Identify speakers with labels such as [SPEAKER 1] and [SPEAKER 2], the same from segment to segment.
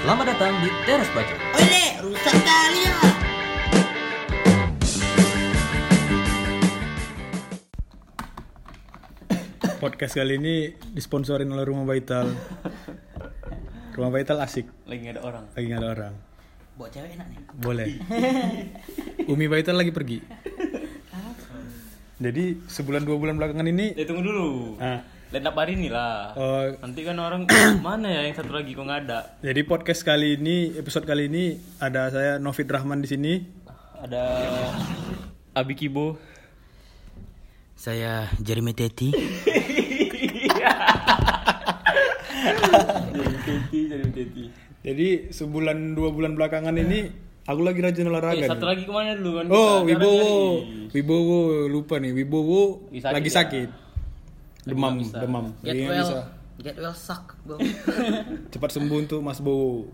[SPEAKER 1] Selamat datang di Teras Baca.
[SPEAKER 2] Ole, rusak kali ya.
[SPEAKER 3] Podcast kali ini disponsorin oleh Rumah Baital. Rumah Baital asik,
[SPEAKER 4] lagi nggak ada orang
[SPEAKER 3] lagi nggak ada orang.
[SPEAKER 2] Buat cewek enak nih.
[SPEAKER 3] Boleh. Umi Baital lagi pergi. Jadi sebulan dua bulan belakangan ini,
[SPEAKER 4] ya tunggu dulu
[SPEAKER 3] ah,
[SPEAKER 4] line up hari ini lah
[SPEAKER 3] eh,
[SPEAKER 4] nanti kan orang mana ya yang satu lagi kok nggak ada
[SPEAKER 3] jadi podcast kali ini, episode kali ini ada saya Novit Rahman di sini.
[SPEAKER 4] ada Abi Kibo
[SPEAKER 2] Saya Jeremy Teti.
[SPEAKER 4] jadi Teti jadi Teti
[SPEAKER 3] Jadi sebulan dua bulan belakangan ini, aku lagi rajin olahraga.
[SPEAKER 4] eh,
[SPEAKER 3] nih.
[SPEAKER 4] satu lagi kemana dulu kan kita
[SPEAKER 3] Oh,
[SPEAKER 4] jarang
[SPEAKER 3] Wibowo.
[SPEAKER 4] nyari.
[SPEAKER 3] Wibowo lupa nih, Wibowo
[SPEAKER 4] Lagi sakit
[SPEAKER 3] lagi
[SPEAKER 4] ya? ah.
[SPEAKER 3] sakit. Demam, demam.
[SPEAKER 2] Get
[SPEAKER 3] Dia nggak
[SPEAKER 2] well.
[SPEAKER 3] bisa.
[SPEAKER 2] Get well suck, bro.
[SPEAKER 3] cepat sembuh untuk Mas Bowo.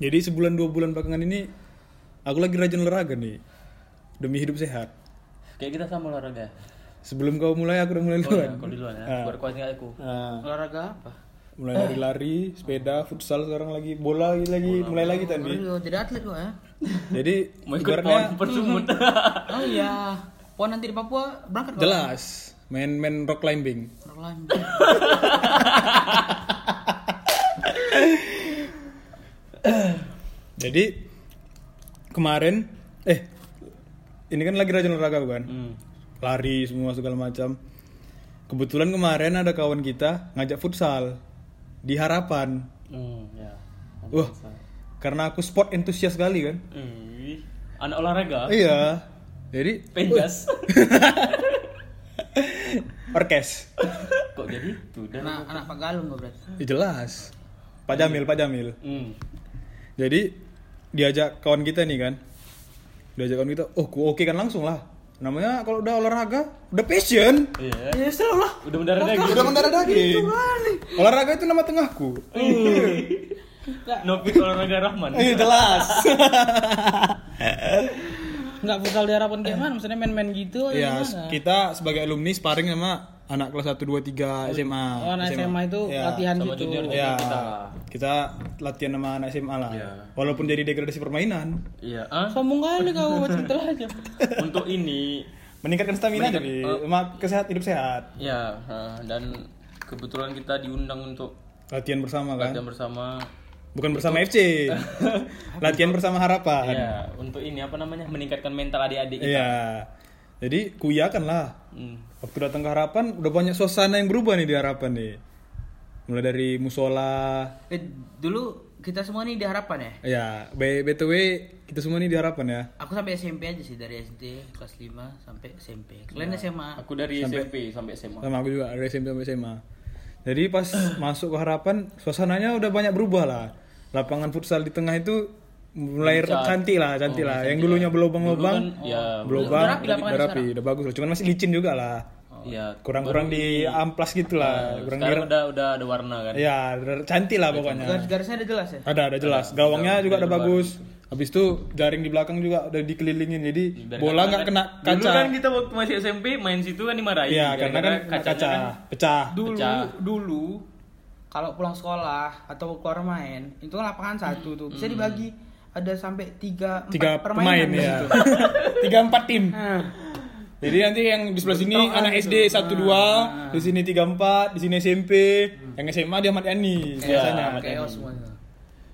[SPEAKER 3] Jadi sebulan dua bulan belakangan ini aku lagi rajin olahraga nih demi hidup sehat.
[SPEAKER 4] kayak kita sama olahraga
[SPEAKER 3] Sebelum kau mulai aku udah
[SPEAKER 4] oh,
[SPEAKER 3] mulai
[SPEAKER 4] ya,
[SPEAKER 3] duluan.
[SPEAKER 4] kau duluan ya
[SPEAKER 3] Ah.
[SPEAKER 4] berkuat nggak aku
[SPEAKER 3] Ah,
[SPEAKER 4] olahraga apa
[SPEAKER 3] mulai lari-lari, sepeda, futsal sekarang lagi bola lagi, lagi mulai lagi tadi.
[SPEAKER 2] Baru jadi atlet lo ya.
[SPEAKER 3] Jadi
[SPEAKER 4] mau ikut pon
[SPEAKER 3] ibaratnya
[SPEAKER 4] persumut
[SPEAKER 2] Oh iya. Pon nanti di Papua berangkat kok.
[SPEAKER 3] jelas main-main rock climbing.
[SPEAKER 2] Orang lain.
[SPEAKER 3] Jadi kemarin eh ini kan lagi rajin olahraga bukan?
[SPEAKER 4] hmm.
[SPEAKER 3] lari semua segala macam. Kebetulan kemarin ada kawan kita ngajak futsal di Harapan.
[SPEAKER 4] hmm ya
[SPEAKER 3] Wah, karena aku sport entusias sekali kan.
[SPEAKER 4] hmm. anak olahraga
[SPEAKER 3] Iya. Jadi
[SPEAKER 4] penjas
[SPEAKER 3] orkes.
[SPEAKER 4] kok jadi tuh dan
[SPEAKER 2] Anak anak Pak Galung gue berarti.
[SPEAKER 3] Ya, jelas. Pak Jamil, Pak Jamil.
[SPEAKER 4] hmm.
[SPEAKER 3] Jadi diajak kawan kita nih kan. Diajak kawan kita, oh ku oke kan langsung lah. Namanya kalau udah olahraga, udah passion.
[SPEAKER 4] iya
[SPEAKER 2] Ya selalu lah.
[SPEAKER 4] udah mendarah lagi
[SPEAKER 3] Udah mendarah daging. Olahraga itu nama tengahku.
[SPEAKER 4] Novit Nah. olahraga Rahman
[SPEAKER 3] Iya jelas.
[SPEAKER 2] Enggak bakal diharapkan kayak mana, maksudnya main-main gitu
[SPEAKER 3] Ya, kita sebagai alumni sparring sama anak kelas 1 2 3 SMA.
[SPEAKER 2] Oh, anak SMA itu
[SPEAKER 3] Ya,
[SPEAKER 2] latihan
[SPEAKER 4] sama
[SPEAKER 2] gitu.
[SPEAKER 4] junior
[SPEAKER 3] Ya,
[SPEAKER 4] kita
[SPEAKER 3] kita latihan sama anak SMA lah.
[SPEAKER 4] Iya.
[SPEAKER 3] Walaupun jadi degradasi permainan,
[SPEAKER 4] iya ah
[SPEAKER 2] Sombong kali kau cerita aja.
[SPEAKER 4] untuk ini
[SPEAKER 3] meningkatkan stamina
[SPEAKER 4] Meningkat-
[SPEAKER 3] jadi
[SPEAKER 4] eh.
[SPEAKER 3] sama kesehat hidup sehat.
[SPEAKER 4] ya ah, dan kebetulan kita diundang untuk
[SPEAKER 3] Latihan bersama
[SPEAKER 4] latihan
[SPEAKER 3] kan?
[SPEAKER 4] bersama
[SPEAKER 3] Bukan bersama FC. latihan bersama harapan.
[SPEAKER 4] ya untuk ini apa namanya meningkatkan mental adik-adik kita
[SPEAKER 3] Iya. Jadi kuyakan lah.
[SPEAKER 4] Hmm.
[SPEAKER 3] Waktu datang ke harapan udah banyak suasana yang berubah nih di harapan nih. Mulai dari musola,
[SPEAKER 2] Eh, dulu kita semua nih diharapkan ya.
[SPEAKER 3] Ya, by, by the way, kita semua nih diharapkan ya.
[SPEAKER 2] Aku sampai SMP aja sih dari SD kelas 5 sampai SMP. Kalian SMA.
[SPEAKER 4] aku dari SMP sampai SMA
[SPEAKER 3] Sama aku juga dari SMP sampai SMA. Jadi pas masuk ke harapan, suasananya udah banyak berubah lah. Lapangan futsal di tengah itu mulai cantik lah, Oh, cantik lah. eh, Yang dulunya
[SPEAKER 4] kan
[SPEAKER 3] berlubang-lubang,
[SPEAKER 4] ya
[SPEAKER 3] berlubang,
[SPEAKER 2] Udah rapi lapangan
[SPEAKER 3] udah rapi, udah bagus lah. Cuman masih licin juga lah.
[SPEAKER 4] ya
[SPEAKER 3] Kurang-kurang di amplas gitu lah, kurang
[SPEAKER 4] sekarang udah udah ada warna kan
[SPEAKER 3] Ya, udah cantik lah pokoknya.
[SPEAKER 2] Garis-garisnya ada jelas ya.
[SPEAKER 3] Ada, ada jelas. Gawangnya juga udah bagus. Habis itu jaring di belakang juga udah dikelilingin. Jadi bola nggak kena
[SPEAKER 4] dulu
[SPEAKER 3] kaca.
[SPEAKER 4] kan kita waktu masih SMP main situ kan dimarahin
[SPEAKER 3] Iya, karena kan
[SPEAKER 4] gara-gara
[SPEAKER 3] kaca,
[SPEAKER 4] kacanya kan
[SPEAKER 3] pecah.
[SPEAKER 2] Dulu,
[SPEAKER 4] Pecah.
[SPEAKER 2] dulu kalau pulang sekolah atau keluar main, itu kan lapangan satu tuh. Bisa dibagi ada sampai tiga, empat
[SPEAKER 3] Tiga
[SPEAKER 2] permainan
[SPEAKER 3] pemain
[SPEAKER 2] gitu. di
[SPEAKER 3] ya.
[SPEAKER 2] situ.
[SPEAKER 3] Tiga empat tim.
[SPEAKER 2] Nah,
[SPEAKER 3] Jadi nanti yang di sebelah sini anak SD satu dua, di sini tiga empat, di sini SMP, yang SMA di Ahmad
[SPEAKER 2] Iya,
[SPEAKER 3] Yani biasanya.
[SPEAKER 2] chaos semua.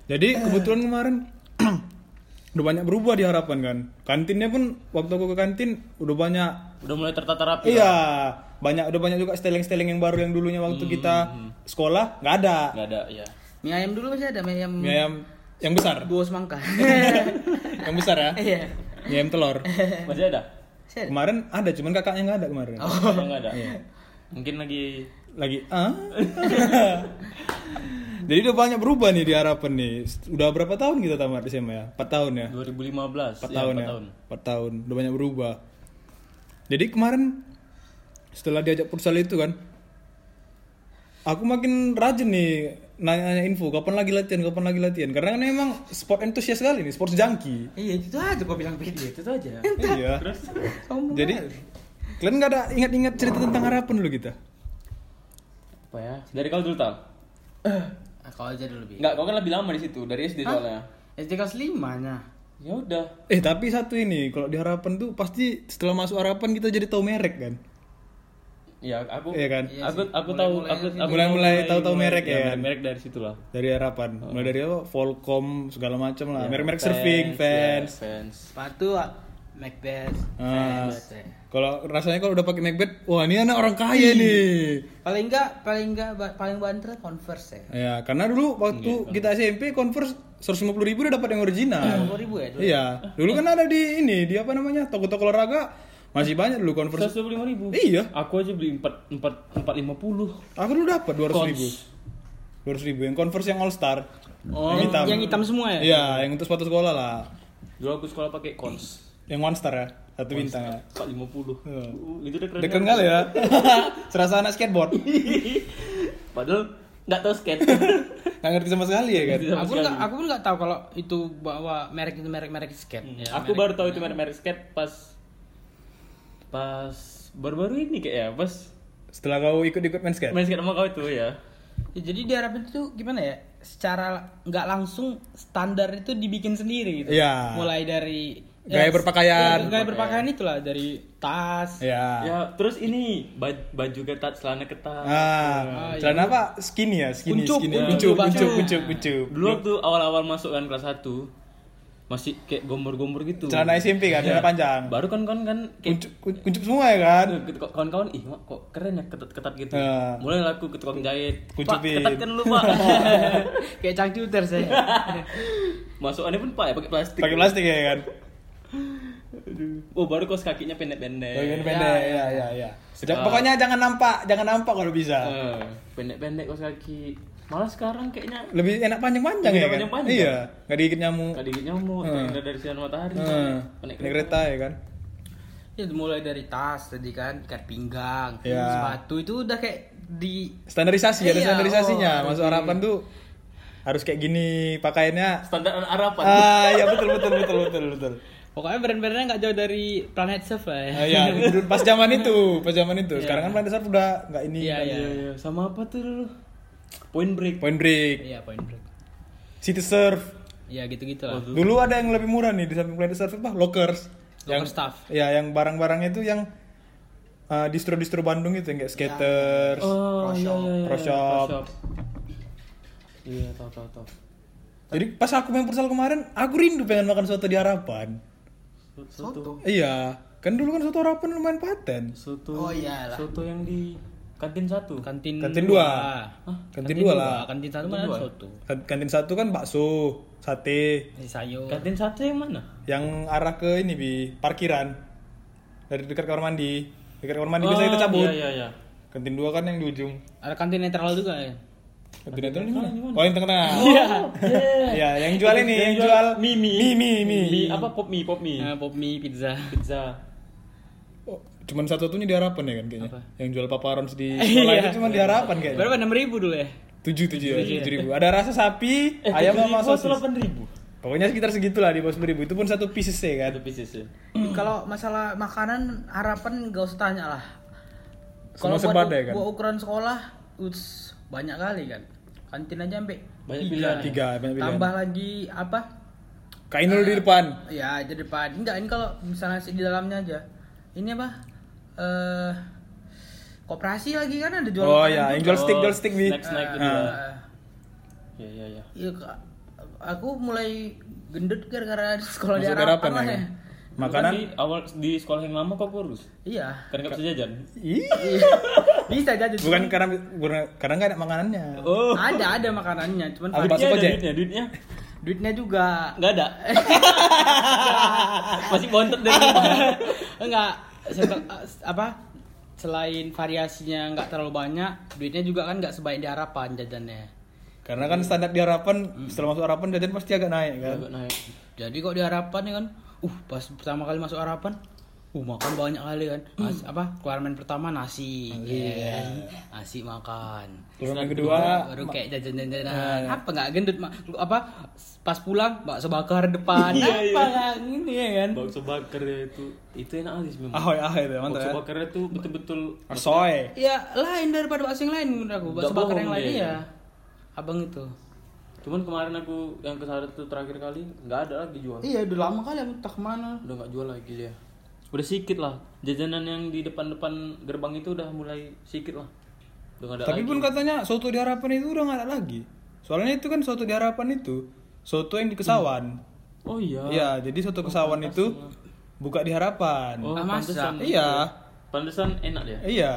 [SPEAKER 3] Jadi kebetulan kemarin udah banyak berubah di harapan kan. Kantinnya pun waktu aku ke kantin udah banyak.
[SPEAKER 4] udah mulai tertata rapi
[SPEAKER 3] Iya, banyak udah banyak juga steling-steling yang baru yang dulunya waktu kita sekolah nggak ada.
[SPEAKER 4] nggak ada ya
[SPEAKER 2] Mie ayam dulu masih ada, mie ayam
[SPEAKER 3] Mie ayam yang besar,
[SPEAKER 2] dua semangka.
[SPEAKER 3] yang besar ya.
[SPEAKER 2] Iya.
[SPEAKER 3] Mie ayam telur.
[SPEAKER 2] Masih
[SPEAKER 4] masih ada
[SPEAKER 2] ada.
[SPEAKER 3] Kemarin ada, cuman kakaknya nggak ada kemarin.
[SPEAKER 4] Kayaknya nggak ada
[SPEAKER 3] Iya.
[SPEAKER 4] mungkin lagi
[SPEAKER 3] lagi ah jadi udah banyak berubah nih di harapan nih udah berapa tahun kita tamat SMA ya 4 tahun ya
[SPEAKER 4] 2015
[SPEAKER 3] 4
[SPEAKER 4] ya,
[SPEAKER 3] tahun
[SPEAKER 4] empat
[SPEAKER 3] ya 4 tahun udah banyak berubah jadi kemarin setelah diajak futsal itu kan aku makin rajin nih nanya-nanya info kapan lagi latihan kapan lagi latihan karena kan emang sport entusias sekali nih sport junkie
[SPEAKER 2] Iya, itu aja gua bilang begitu.
[SPEAKER 4] itu tuh aja
[SPEAKER 3] iya
[SPEAKER 4] terus
[SPEAKER 2] Sombong
[SPEAKER 3] jadi
[SPEAKER 2] banget.
[SPEAKER 3] kalian nggak ada ingat-ingat cerita tentang harapan dulu kita
[SPEAKER 4] apa ya dari kau dulu tal
[SPEAKER 2] Nah, kau aja dulu
[SPEAKER 3] Iya.
[SPEAKER 2] bi.
[SPEAKER 4] Enggak, kau kan lebih lama di situ dari SD soalnya.
[SPEAKER 2] SD kelas lima nah. nya.
[SPEAKER 4] Ya udah.
[SPEAKER 3] Eh tapi satu ini kalau di harapan tuh pasti setelah masuk harapan kita jadi tahu merek kan.
[SPEAKER 4] Ya aku
[SPEAKER 3] Iya kan?
[SPEAKER 2] Iya sih.
[SPEAKER 4] aku aku tahu
[SPEAKER 2] Mulai-mulai
[SPEAKER 4] aku
[SPEAKER 2] dari
[SPEAKER 4] aku
[SPEAKER 3] Mulai-mulai tahu-tahu
[SPEAKER 4] mulai-
[SPEAKER 3] merek ya.
[SPEAKER 4] Merek dari situ lah.
[SPEAKER 3] Dari harapan. Mulai dari apa? Volcom segala macam
[SPEAKER 4] Ya,
[SPEAKER 3] lah.
[SPEAKER 4] Oh.
[SPEAKER 3] Merek-merek
[SPEAKER 4] fans,
[SPEAKER 3] surfing,
[SPEAKER 4] ya,
[SPEAKER 3] fans.
[SPEAKER 4] fans.
[SPEAKER 2] Sepatu ah, Macbeth.
[SPEAKER 3] Ah.
[SPEAKER 2] Fans, eh.
[SPEAKER 3] Kalau rasanya kalau udah pakai Macbeth, wah ini anak orang kaya nih.
[SPEAKER 2] Paling enggak paling enggak ba- paling banter Converse ya.
[SPEAKER 3] Ya, karena dulu waktu kita SMP Converse 150 ribu udah dapat yang original.
[SPEAKER 2] Dua ribu ya. dulu.
[SPEAKER 3] Iya, dulu kan ada di ini, di apa namanya? Toko-toko olahraga masih banyak dulu Converse.
[SPEAKER 4] Seratus dua puluh lima ribu.
[SPEAKER 3] Iya.
[SPEAKER 4] Aku aja beli empat empat empat lima puluh.
[SPEAKER 3] Aku dulu dapat 200
[SPEAKER 4] Cons.
[SPEAKER 3] ribu. 200 ribu yang Converse yang All Star.
[SPEAKER 2] Oh,
[SPEAKER 3] yang hitam.
[SPEAKER 2] yang hitam semua ya?
[SPEAKER 3] Iya, yang untuk sepatu sekolah lah.
[SPEAKER 4] Dulu aku sekolah pakai cons.
[SPEAKER 3] Yang One Star ya, satu bintang ya.
[SPEAKER 4] Empat lima puluh. Uh,
[SPEAKER 3] Iya.
[SPEAKER 4] Itu udah keren.
[SPEAKER 3] Deken kali ya. Serasa anak skateboard.
[SPEAKER 4] Padahal nggak tahu skate. Hmm,
[SPEAKER 3] Nggak ngerti sama sekali ya kan.
[SPEAKER 4] Sama
[SPEAKER 2] Aku
[SPEAKER 4] sekali.
[SPEAKER 2] enggak aku pun enggak tahu kalau itu bahwa merek itu merek-merek skate. Ya,
[SPEAKER 4] aku baru tahu itu merek-merek skate pas pas baru-baru ini kayak ya pas
[SPEAKER 3] Setelah kau ikut-ikut main skate.
[SPEAKER 4] main skate sama kau itu ya.
[SPEAKER 2] Ya, jadi di Arab itu gimana ya? Secara nggak langsung standar itu dibikin sendiri gitu.
[SPEAKER 3] Iya.
[SPEAKER 2] Mulai dari
[SPEAKER 3] Gaya berpakaian.
[SPEAKER 2] ya, gaya berpakaian itulah dari tas.
[SPEAKER 3] Ya.
[SPEAKER 4] Ya, terus ini ba- baju ketat, celana ketat.
[SPEAKER 3] Ah,
[SPEAKER 2] iya.
[SPEAKER 3] celana apa? Skinny ya, skinny,
[SPEAKER 2] Kuncup,
[SPEAKER 3] skinny.
[SPEAKER 2] kuncup,
[SPEAKER 3] Kuncup, kuncup,
[SPEAKER 2] bahasanya.
[SPEAKER 3] kuncup, kuncup.
[SPEAKER 4] Dulu waktu awal-awal masuk kan kelas 1 masih kayak gombor-gombor gitu.
[SPEAKER 3] Celana SMP kan, celana panjang.
[SPEAKER 4] Baru kan kan kan kayak gitu,
[SPEAKER 3] Kuncup, kun- kuncup semua ya kan?
[SPEAKER 4] kawan-kawan ih Mak, kok keren ya ketat-ketat gitu.
[SPEAKER 3] Ah.
[SPEAKER 4] Mulai laku ke tukang jahit. Pak,
[SPEAKER 3] Kucupin.
[SPEAKER 4] ketat kan lu, Pak.
[SPEAKER 2] Kayak cangki uter saya.
[SPEAKER 4] Masukannya pun Pak ya pakai plastik.
[SPEAKER 3] Pakai plastik ya kan?
[SPEAKER 4] Oh, baru kos kakinya pendek-pendek.
[SPEAKER 3] Bagian pendek, ya, ya, ya.
[SPEAKER 4] Sedap.
[SPEAKER 3] Pokoknya jangan nampak, jangan nampak kalau bisa.
[SPEAKER 4] Eh, pendek-pendek kos kaki. Malah sekarang kayaknya
[SPEAKER 3] Lebih enak panjang-panjang
[SPEAKER 4] Lebih
[SPEAKER 3] ya
[SPEAKER 4] enak
[SPEAKER 3] kan?
[SPEAKER 4] panjang-panjang.
[SPEAKER 3] Iya, nggak digigit nyamuk.
[SPEAKER 4] kadang nyamuk,
[SPEAKER 3] Eh.
[SPEAKER 4] terhindar dari sinar matahari.
[SPEAKER 3] Eh,
[SPEAKER 4] Naik
[SPEAKER 3] Naik kereta ya kan?
[SPEAKER 2] ya mulai dari tas tadi kan, ikat pinggang,
[SPEAKER 3] Iya.
[SPEAKER 2] sepatu itu udah kayak di
[SPEAKER 3] Standarisasi, ada
[SPEAKER 2] Iya,
[SPEAKER 3] standarisasinya.
[SPEAKER 2] oh,
[SPEAKER 3] Masuk
[SPEAKER 2] iya.
[SPEAKER 3] harapan tuh harus kayak gini pakaiannya.
[SPEAKER 4] Standar harapan.
[SPEAKER 3] Ah, ya betul betul betul betul betul.
[SPEAKER 2] Pokoknya brand-brandnya nggak jauh dari Planet Surf lah ya.
[SPEAKER 3] Ah, ya, dulu- pas zaman itu, pas zaman itu. Sekarang kan pada saat udah nggak ini.
[SPEAKER 2] Iya,
[SPEAKER 3] kan.
[SPEAKER 2] iya.
[SPEAKER 4] Iya, iya. Sama apa tuh dulu? Point break.
[SPEAKER 3] Point Break,
[SPEAKER 2] Iya, point break.
[SPEAKER 3] City Surf.
[SPEAKER 2] Ya gitu-gitu lah.
[SPEAKER 3] Dulu ada yang lebih murah nih di samping Planet Surf apa? Lockers.
[SPEAKER 2] Yang staff.
[SPEAKER 3] Ya, yang barang-barangnya itu yang eh, distro-distro Bandung itu yang kayak skaters.
[SPEAKER 4] Oh, iya, iya, iya.
[SPEAKER 3] Pro
[SPEAKER 4] Pro
[SPEAKER 3] shop.
[SPEAKER 4] shop. Iya, tahu tahu tahu.
[SPEAKER 3] Jadi pas aku main futsal kemarin, aku rindu pengen makan soto di harapan.
[SPEAKER 4] Soto.
[SPEAKER 3] Iya, kan dulu kan soto harapan lumayan paten.
[SPEAKER 2] Oh,
[SPEAKER 4] Soto.
[SPEAKER 2] iyalah. Kan-
[SPEAKER 4] Soto yang di kantin satu.
[SPEAKER 2] Kantin,
[SPEAKER 3] Kantin dua. Ah,
[SPEAKER 2] Hah?
[SPEAKER 3] Kantin dua lah.
[SPEAKER 2] Kantin satu mana ada satu.
[SPEAKER 3] Kan- Kantin satu kan bakso, sate,
[SPEAKER 2] Ini sayur.
[SPEAKER 3] Kan-
[SPEAKER 4] Kantin satu yang mana?
[SPEAKER 3] yang arah ke ini bi parkiran dari dekat kamar mandi. Dekat kamar mandi biasa
[SPEAKER 4] Oh,
[SPEAKER 3] Kan kita cabut.
[SPEAKER 4] Iya, iya, iya.
[SPEAKER 3] Kantin dua kan yang di ujung.
[SPEAKER 2] Ada kantin netral juga ya.
[SPEAKER 3] Kantin itu di mana? Oh yang tengah-tengah.
[SPEAKER 4] Oh, Yeah.
[SPEAKER 3] Iya, yang jual ini, yang jual
[SPEAKER 4] mie, mie.
[SPEAKER 3] mie, mie, mie.
[SPEAKER 4] Mie, apa pop mie, pop mie.
[SPEAKER 2] Nah,
[SPEAKER 3] Iya.
[SPEAKER 2] pop mie, pizza.
[SPEAKER 4] Pizza.
[SPEAKER 3] Oh, cuman satu satunya di harapan ya kan kayaknya.
[SPEAKER 4] Apa?
[SPEAKER 3] Yang jual paparons di sekolah itu cuma di harapan kayaknya.
[SPEAKER 2] Berapa? 6 ribu dulu ya?
[SPEAKER 3] Tujuh tujuh ya, tujuh ribu. Ada rasa sapi,
[SPEAKER 4] Eh,
[SPEAKER 3] ayam sama sosis. Iya.
[SPEAKER 4] delapan ribu.
[SPEAKER 3] Pokoknya sekitar segitulah di bawah sepuluh ribu. Itu pun satu pieces ya kan.
[SPEAKER 4] Satu pieces ya.
[SPEAKER 2] Kalau masalah makanan harapan gak usah tanya lah.
[SPEAKER 3] Semua
[SPEAKER 2] Kalau
[SPEAKER 3] serba
[SPEAKER 2] buat,
[SPEAKER 3] ada ya kan?
[SPEAKER 2] buat ukuran sekolah, uts, banyak kali kan. Kantin aja sampai
[SPEAKER 4] Banyak
[SPEAKER 2] tiga.
[SPEAKER 4] pilihan.
[SPEAKER 3] Tiga banyak pilihan.
[SPEAKER 2] Tambah lagi apa?
[SPEAKER 3] Kainul di depan.
[SPEAKER 2] Ya, aja depan. Enggak, ini kalau misalnya nasi di dalamnya aja. Ini apa? Eh koperasi lagi kan ada jual
[SPEAKER 3] Oh
[SPEAKER 2] makanan
[SPEAKER 3] ya,
[SPEAKER 2] tuh.
[SPEAKER 3] yang jual stick,
[SPEAKER 4] Oh,
[SPEAKER 3] jual stick bi.
[SPEAKER 4] Snack-snack gitu
[SPEAKER 3] Ah.
[SPEAKER 4] lah.
[SPEAKER 2] Eh,
[SPEAKER 4] Iya, iya, iya.
[SPEAKER 2] Iya, Kak. aku mulai gendut gara-gara di sekolah di
[SPEAKER 3] Masuk
[SPEAKER 2] harapan
[SPEAKER 3] harapan
[SPEAKER 2] lah
[SPEAKER 3] ya,
[SPEAKER 2] ya.
[SPEAKER 3] kan?
[SPEAKER 4] Dulu
[SPEAKER 3] Makanan.
[SPEAKER 4] kan di awal di sekolah yang lama kok kurus
[SPEAKER 2] Iya.
[SPEAKER 4] kan nggak bisa jajan
[SPEAKER 3] Ih,
[SPEAKER 2] Iya. Bisa jadi.
[SPEAKER 3] bukan karena bukan- karena nggak ada makanannya.
[SPEAKER 4] oh
[SPEAKER 2] Ada ada makanannya, cuman
[SPEAKER 3] Apa?
[SPEAKER 4] duitnya
[SPEAKER 3] masuk
[SPEAKER 4] ada
[SPEAKER 3] aja.
[SPEAKER 4] duitnya duitnya
[SPEAKER 2] duitnya juga.
[SPEAKER 4] nggak ada
[SPEAKER 2] Eh.
[SPEAKER 4] masih bontot dari rumah.
[SPEAKER 2] Enggak. setel- apa? Selain variasinya nggak terlalu banyak, duitnya juga kan nggak sebaik di harapan jajannya.
[SPEAKER 3] Karena kan standar di harapan setelah masuk harapan jajan pasti agak naik kan.
[SPEAKER 4] Agak naik
[SPEAKER 2] Jadi kok di harapan ya kan, uh pas pertama kali masuk harapan, uh makan banyak kali kan. Nas- apa? Keluar main pertama nasi, ya kan? nasi makan.
[SPEAKER 3] Terus yang kedua
[SPEAKER 2] baru kayak jajan-jajanan
[SPEAKER 3] Eh.
[SPEAKER 2] apa nggak gendut mak Lu apa pas pulang bakso bakar depan
[SPEAKER 3] Iya,
[SPEAKER 2] apa nggak gini ya kan
[SPEAKER 4] bakso bakar itu itu enak alis memang
[SPEAKER 3] ahoy ahoy itu Ah, mantap
[SPEAKER 4] bakso
[SPEAKER 3] ya.
[SPEAKER 4] bakar itu betul-betul
[SPEAKER 3] Asoy.
[SPEAKER 2] ya lain daripada bakso yang lain menurut aku bakso
[SPEAKER 4] Nggak
[SPEAKER 2] bakar
[SPEAKER 4] bohong
[SPEAKER 3] iya,
[SPEAKER 2] yang lain
[SPEAKER 4] dia.
[SPEAKER 2] ya abang itu
[SPEAKER 4] Cuman kemarin aku yang kesana tuh terakhir kali nggak ada lagi jual.
[SPEAKER 2] iya udah lama kali aku tak kemana
[SPEAKER 4] Udah nggak jual lagi dia. Udah sikit lah. Jajanan yang di depan-depan gerbang itu udah mulai sikit lah. Udah nggak ada
[SPEAKER 3] Tapi
[SPEAKER 4] lagi.
[SPEAKER 3] pun katanya soto di harapan itu udah nggak ada lagi. Soalnya itu kan soto di harapan itu soto yang di Kesawan.
[SPEAKER 4] Oh iya.
[SPEAKER 3] Iya, jadi soto Kesawan itu buka di harapan.
[SPEAKER 4] Oh,
[SPEAKER 2] Ah, masa?
[SPEAKER 4] pantesan.
[SPEAKER 3] Iya,
[SPEAKER 4] Pantesan enak dia.
[SPEAKER 3] iya,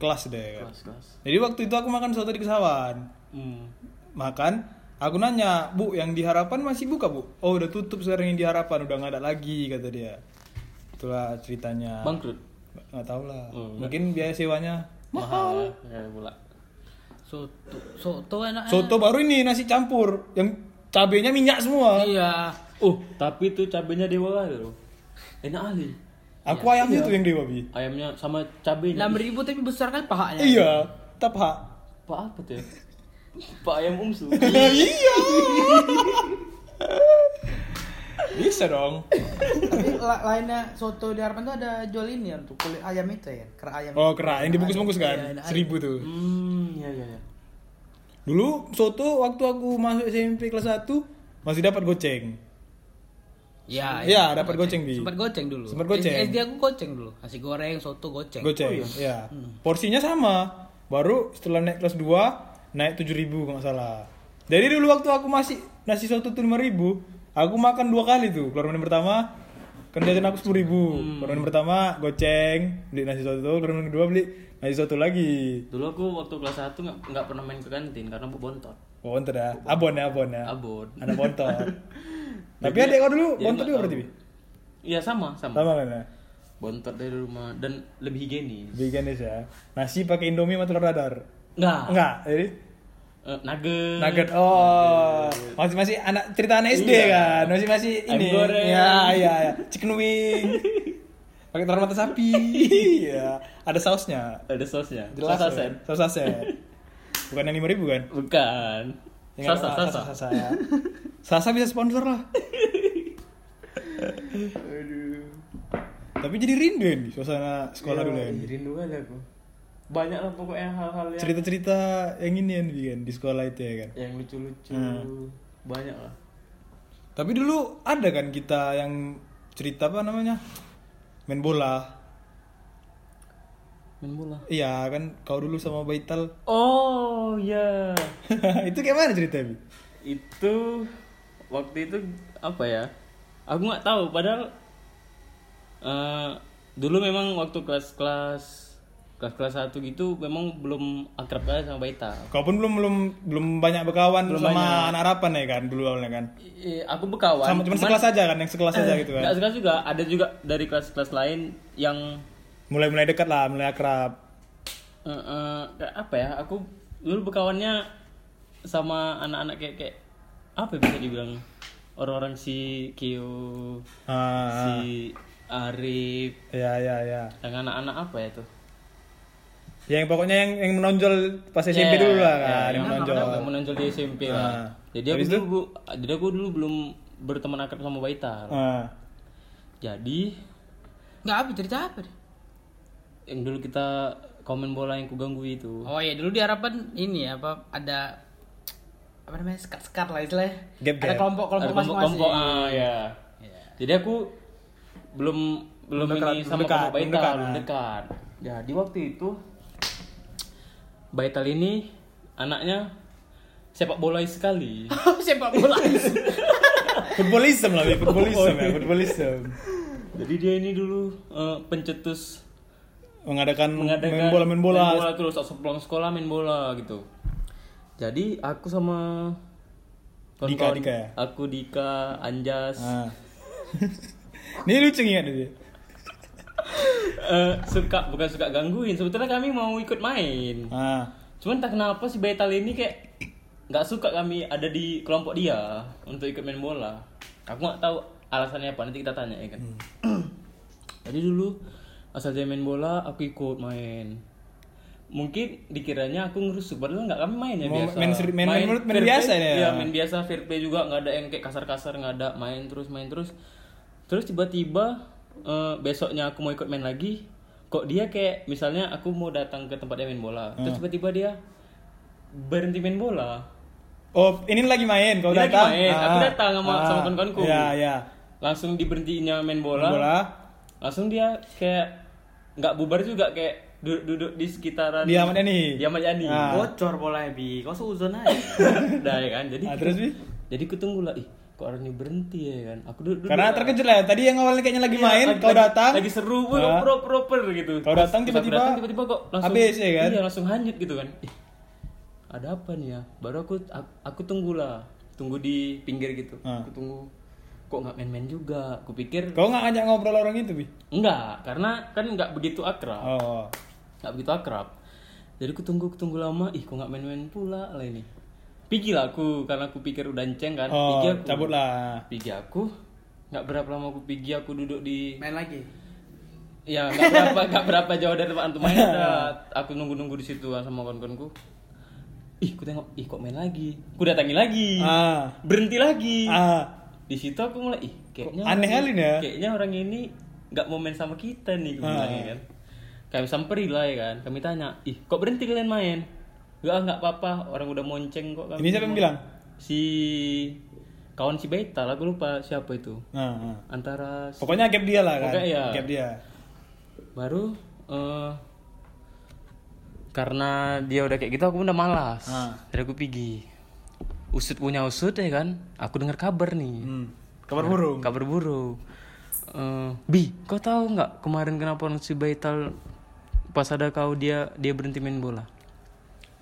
[SPEAKER 3] kelas deh.
[SPEAKER 4] Kelas kelas.
[SPEAKER 3] Jadi waktu itu aku makan soto di Kesawan.
[SPEAKER 4] Hmm.
[SPEAKER 3] Makan, aku nanya, "Bu, yang di harapan masih buka, Bu?" "Oh, udah tutup sekarang yang di harapan, udah nggak ada lagi," kata dia. Itulah ceritanya.
[SPEAKER 4] Bangkrut.
[SPEAKER 3] Nggak tahu lah.
[SPEAKER 4] Oh,
[SPEAKER 3] Mungkin biaya sewanya.
[SPEAKER 4] Mahal. Ya, pula.
[SPEAKER 2] soto soto enak
[SPEAKER 3] Soto baru ini nasi campur yang cabenya minyak semua.
[SPEAKER 2] iya
[SPEAKER 4] Oh, tapi itu cabenya dewa kali loh. Enak kali.
[SPEAKER 3] Aku
[SPEAKER 2] Iya,
[SPEAKER 3] ayamnya tuh yang dewa bi.
[SPEAKER 4] Ayamnya sama cabenya.
[SPEAKER 2] enam ribu tapi besar kali pahanya
[SPEAKER 3] Iya, tetap hak.
[SPEAKER 4] Pak apa tuh? ya? Pak ayam umsu.
[SPEAKER 3] Lah, iya. Bisa dong.
[SPEAKER 2] tapi la- lainnya soto di harapan tuh ada jual ini ya untuk kulit ayam itu ya kerak ayam
[SPEAKER 3] Oh kera, yang dibungkus-bungkus
[SPEAKER 2] Iya,
[SPEAKER 3] kan,
[SPEAKER 2] enak.
[SPEAKER 3] seribu tuh.
[SPEAKER 4] Hmm, ya ya ya.
[SPEAKER 3] Dulu soto waktu aku masuk SMP kelas 1 masih dapat goceng.
[SPEAKER 2] iya
[SPEAKER 3] Iya, dapat goceng bi.
[SPEAKER 2] sempat goceng dulu
[SPEAKER 3] Sempat goceng.
[SPEAKER 2] SD aku goceng dulu nasi goreng soto goceng Oh, Hmm.
[SPEAKER 3] Goceng, iya. Porsinya sama. Baru setelah naik kelas 2 naik 7000 kalau nggak salah. Jadi dulu waktu aku masih nasi soto tuh 5000, aku makan dua kali tuh. Keluar menu pertama kan jajan aku 10000.
[SPEAKER 2] Hmm.
[SPEAKER 3] Keluar menu pertama goceng, beli nasi soto, keluar menu kedua beli nasi soto lagi.
[SPEAKER 4] Dulu aku waktu kelas 1 nggak nggak pernah main ke kantin karena aku bontot.
[SPEAKER 3] Oh, entar dah. Abon ya, abon ya.
[SPEAKER 4] Abon.
[SPEAKER 3] Anak bontot. Tapi adik kau dulu
[SPEAKER 4] Jadi
[SPEAKER 3] bontot
[SPEAKER 4] nggak
[SPEAKER 3] juga
[SPEAKER 4] tahu.
[SPEAKER 3] berarti. Bi?
[SPEAKER 4] Iya sama sama.
[SPEAKER 3] Sama kan ya?
[SPEAKER 4] Bontot dari rumah dan lebih higienis.
[SPEAKER 3] Veganis ya. Nasi pakai Indomie sama telur dadar.
[SPEAKER 4] Nggak.
[SPEAKER 3] Enggak, jadi
[SPEAKER 4] Eh, nugget.
[SPEAKER 3] nugget. Oh, masih masih anak cerita anak SD kan. Masih masih
[SPEAKER 4] Iya. Ayam
[SPEAKER 3] ini.
[SPEAKER 4] goreng.
[SPEAKER 3] Ya, ya, ya. Chicken wing. pakai telur mata sapi. Iya, ada sausnya.
[SPEAKER 4] Ada sausnya.
[SPEAKER 3] Jelas.
[SPEAKER 4] Saus
[SPEAKER 3] ya.
[SPEAKER 4] asen.
[SPEAKER 3] Saus asen. Bukan yang 5000 kan?
[SPEAKER 4] Bukan.
[SPEAKER 3] Yang
[SPEAKER 4] Sasa,
[SPEAKER 3] apa?
[SPEAKER 4] sasa.
[SPEAKER 3] Sasa. ya. Sasa bisa sponsor lah. Tapi jadi rindu ya nih suasana sekolah dulu ya. Bi.
[SPEAKER 4] Iya, Rindu kali aku. Banyak lah pokoknya hal-hal yang
[SPEAKER 3] Cerita-cerita yang ini yang kan di sekolah itu ya kan.
[SPEAKER 4] yang lucu-lucu.
[SPEAKER 3] Hmm.
[SPEAKER 4] Banyak lah.
[SPEAKER 3] Tapi dulu ada kan kita yang cerita apa namanya? Main bola.
[SPEAKER 4] Main bola.
[SPEAKER 3] Iya kan kau dulu sama Baital.
[SPEAKER 4] Oh ya.
[SPEAKER 3] itu kayak mana ceritanya? Bi?
[SPEAKER 4] Itu waktu itu apa ya? Aku nggak tahu. Padahal eh, dulu memang waktu kelas-kelas kelas-kelas satu gitu memang belum akrab kali sama Baita.
[SPEAKER 3] Kau pun belum belum belum banyak berkawan sama anak harapan ya kan dulu awalnya kan.
[SPEAKER 4] I- i- aku berkawan.
[SPEAKER 3] Sama cuma sekelas aja kan, yang sekelas aja gitu kan.
[SPEAKER 4] Nggak suka juga. Ada juga dari kelas-kelas lain yang
[SPEAKER 3] Mulai-mulai dekat lah, mulai akrab.
[SPEAKER 4] eh, eh, kayak apa ya? Aku dulu berkawannya sama anak-anak kayak kayak apa ya bisa dibilang orang-orang si Kyo
[SPEAKER 3] Ah,
[SPEAKER 4] si Arif
[SPEAKER 3] ya ya ya.
[SPEAKER 4] yang anak-anak apa ya tuh
[SPEAKER 3] Yang pokoknya yang yang menonjol pas
[SPEAKER 4] Iya, Ya,
[SPEAKER 3] SMP dulu lah kan, yang menonjol.
[SPEAKER 4] yang menonjol di SMP
[SPEAKER 3] Ah.
[SPEAKER 4] lah jadi aku dulu jadi aku dulu belum berteman akrab sama Baitar
[SPEAKER 3] Ah.
[SPEAKER 4] jadi
[SPEAKER 2] nggak apa cerita apa deh
[SPEAKER 4] yang dulu kita komen bola yang kuganggu itu
[SPEAKER 2] oh iya dulu di harapan ini apa ada apa namanya sekat sekat lah istilahnya
[SPEAKER 3] Gap-gap.
[SPEAKER 2] ada kelompok kelompok Iya. masing
[SPEAKER 4] Ada
[SPEAKER 2] masing
[SPEAKER 4] kelompok-kelompok, ah ya jadi aku belum belum
[SPEAKER 3] Mendekat,
[SPEAKER 4] ini sama
[SPEAKER 3] mendekat,
[SPEAKER 4] kelompok Baital
[SPEAKER 3] mendekat,
[SPEAKER 4] belum
[SPEAKER 3] ah.
[SPEAKER 4] dekat ya di waktu itu Baital ini anaknya sepak bola sekali
[SPEAKER 2] sepak bola
[SPEAKER 3] Footballism lah, Bi,
[SPEAKER 4] Oh,
[SPEAKER 3] footballism
[SPEAKER 4] iya.
[SPEAKER 3] ya, footballism.
[SPEAKER 4] Jadi dia ini dulu eh, pencetus
[SPEAKER 3] Mengadakan,
[SPEAKER 4] mengadakan
[SPEAKER 3] main bola main bola.
[SPEAKER 4] terus langsung pulang sekolah main bola gitu. Jadi aku sama kawan-kawan-
[SPEAKER 3] Dika, Dika ya?
[SPEAKER 4] Aku Dika, Anjas
[SPEAKER 3] Ah. Ini lucu ingat dia.
[SPEAKER 4] eh, suka bukan suka gangguin. Sebetulnya kami mau ikut main.
[SPEAKER 3] Ah.
[SPEAKER 4] Cuman tak kenapa si Betal ini kayak nggak suka kami ada di kelompok dia untuk ikut main bola. Aku nggak tahu alasannya apa nanti kita tanya ya kan.
[SPEAKER 3] Hmm.
[SPEAKER 4] Jadi dulu asal dia main bola aku ikut main. Mungkin dikiranya aku ngerusuk padahal nggak kami main ya
[SPEAKER 3] Mau
[SPEAKER 4] biasa.
[SPEAKER 3] main seri- main- main- main
[SPEAKER 4] fair play,
[SPEAKER 3] biasa ini ya?
[SPEAKER 4] Iya main biasa fair play juga nggak ada yang kayak kasar-kasar nggak ada main terus main terus. Terus tiba-tiba eh, besoknya aku mau ikut main lagi kok dia kayak
[SPEAKER 3] Hmm.
[SPEAKER 4] misalnya aku mau datang ke tempat dia main bola terus tiba-tiba dia berhenti main bola
[SPEAKER 3] Oh, ini lagi main kau
[SPEAKER 4] Ini lagi
[SPEAKER 3] datang. Ah.
[SPEAKER 4] main, aku datang sama- sama kawan-kawanku.
[SPEAKER 3] Iya, iya.
[SPEAKER 4] langsung diberhentiin main bola,
[SPEAKER 3] Bola.
[SPEAKER 4] langsung dia kayak nggak bubar juga kayak duduk, duduk di sekitaran
[SPEAKER 3] Dia sama Dani.
[SPEAKER 4] dia sama Dani.
[SPEAKER 3] Ah.
[SPEAKER 2] Bocor bola bi, kau seuzon aja.
[SPEAKER 4] Udah, ya kan jadi
[SPEAKER 3] Ah, terus Bi?
[SPEAKER 4] jadi ku tunggu lah ih kok orang ini berhenti ya kan aku duduk, duduk
[SPEAKER 3] Karena
[SPEAKER 4] lah.
[SPEAKER 3] terkejut lah. ya. Tadi yang awalnya kayaknya lagi
[SPEAKER 4] Iya,
[SPEAKER 3] main,
[SPEAKER 4] lagi-
[SPEAKER 3] kau
[SPEAKER 4] lagi-
[SPEAKER 3] datang.
[SPEAKER 4] lagi seru woi
[SPEAKER 3] Ah.
[SPEAKER 4] pro proper gitu
[SPEAKER 3] Kau datang
[SPEAKER 4] Pas- pas
[SPEAKER 3] tiba-tiba
[SPEAKER 4] aku datang, tiba-tiba kok langsung
[SPEAKER 3] habis, ya kan?
[SPEAKER 4] iya langsung hanyut gitu kan Ih, ada apa nih ya baru aku aku, aku tunggu lah tunggu di pinggir gitu
[SPEAKER 3] Ah.
[SPEAKER 4] aku tunggu kok nggak main-main juga aku pikir
[SPEAKER 3] Kau nggak ngajak ngobrol orang itu, Bi?
[SPEAKER 4] enggak karena kan nggak begitu akrab
[SPEAKER 3] Oh.
[SPEAKER 4] nggak begitu akrab jadi aku tunggu aku tunggu lama ih kok nggak main-main pula lah ini pikir lah aku karena aku pikir udah enceng kan
[SPEAKER 3] Oh,
[SPEAKER 4] pikir aku
[SPEAKER 3] cabut lah.
[SPEAKER 4] Pigi aku nggak berapa lama aku pigi aku duduk di
[SPEAKER 2] Main lagi.
[SPEAKER 4] ya nggak berapa nggak berapa jauh dari tempat antum main
[SPEAKER 3] Iya.
[SPEAKER 4] udah aku nunggu nunggu di situ sama kawan-kawanku ih ku tengok ih kok main lagi ku datangi lagi
[SPEAKER 3] Ah.
[SPEAKER 4] berhenti lagi
[SPEAKER 3] Ah.
[SPEAKER 4] di situ aku mulai ih kayaknya
[SPEAKER 3] Kok aneh
[SPEAKER 4] orang
[SPEAKER 3] kali nih ya?"
[SPEAKER 4] kayaknya orang ini nggak mau main sama kita nih gue bilang, ya
[SPEAKER 3] Ah.
[SPEAKER 4] kan kami samperin lah ya kan kami tanya ih kok berhenti kalian main Gak, nggak apa-apa. Orang udah monceng kok. Kami
[SPEAKER 3] Ini siapa yang bilang?
[SPEAKER 4] Si kawan si Beta lah, gue lupa siapa itu.
[SPEAKER 3] Nah, nah.
[SPEAKER 4] Antara si-
[SPEAKER 3] Pokoknya gap dia lah kan.
[SPEAKER 4] Pokoknya iya.
[SPEAKER 3] Gap dia.
[SPEAKER 4] baru eh, karena dia udah kayak gitu aku udah malas
[SPEAKER 3] Ah.
[SPEAKER 4] jadi aku pergi usut punya usut ya kan aku dengar kabar nih
[SPEAKER 3] Hmm. Kabar burung.
[SPEAKER 4] kabar buruk Eh, bi kau tahu nggak kemarin kenapa orang si Baital pas ada kau dia dia berhenti main bola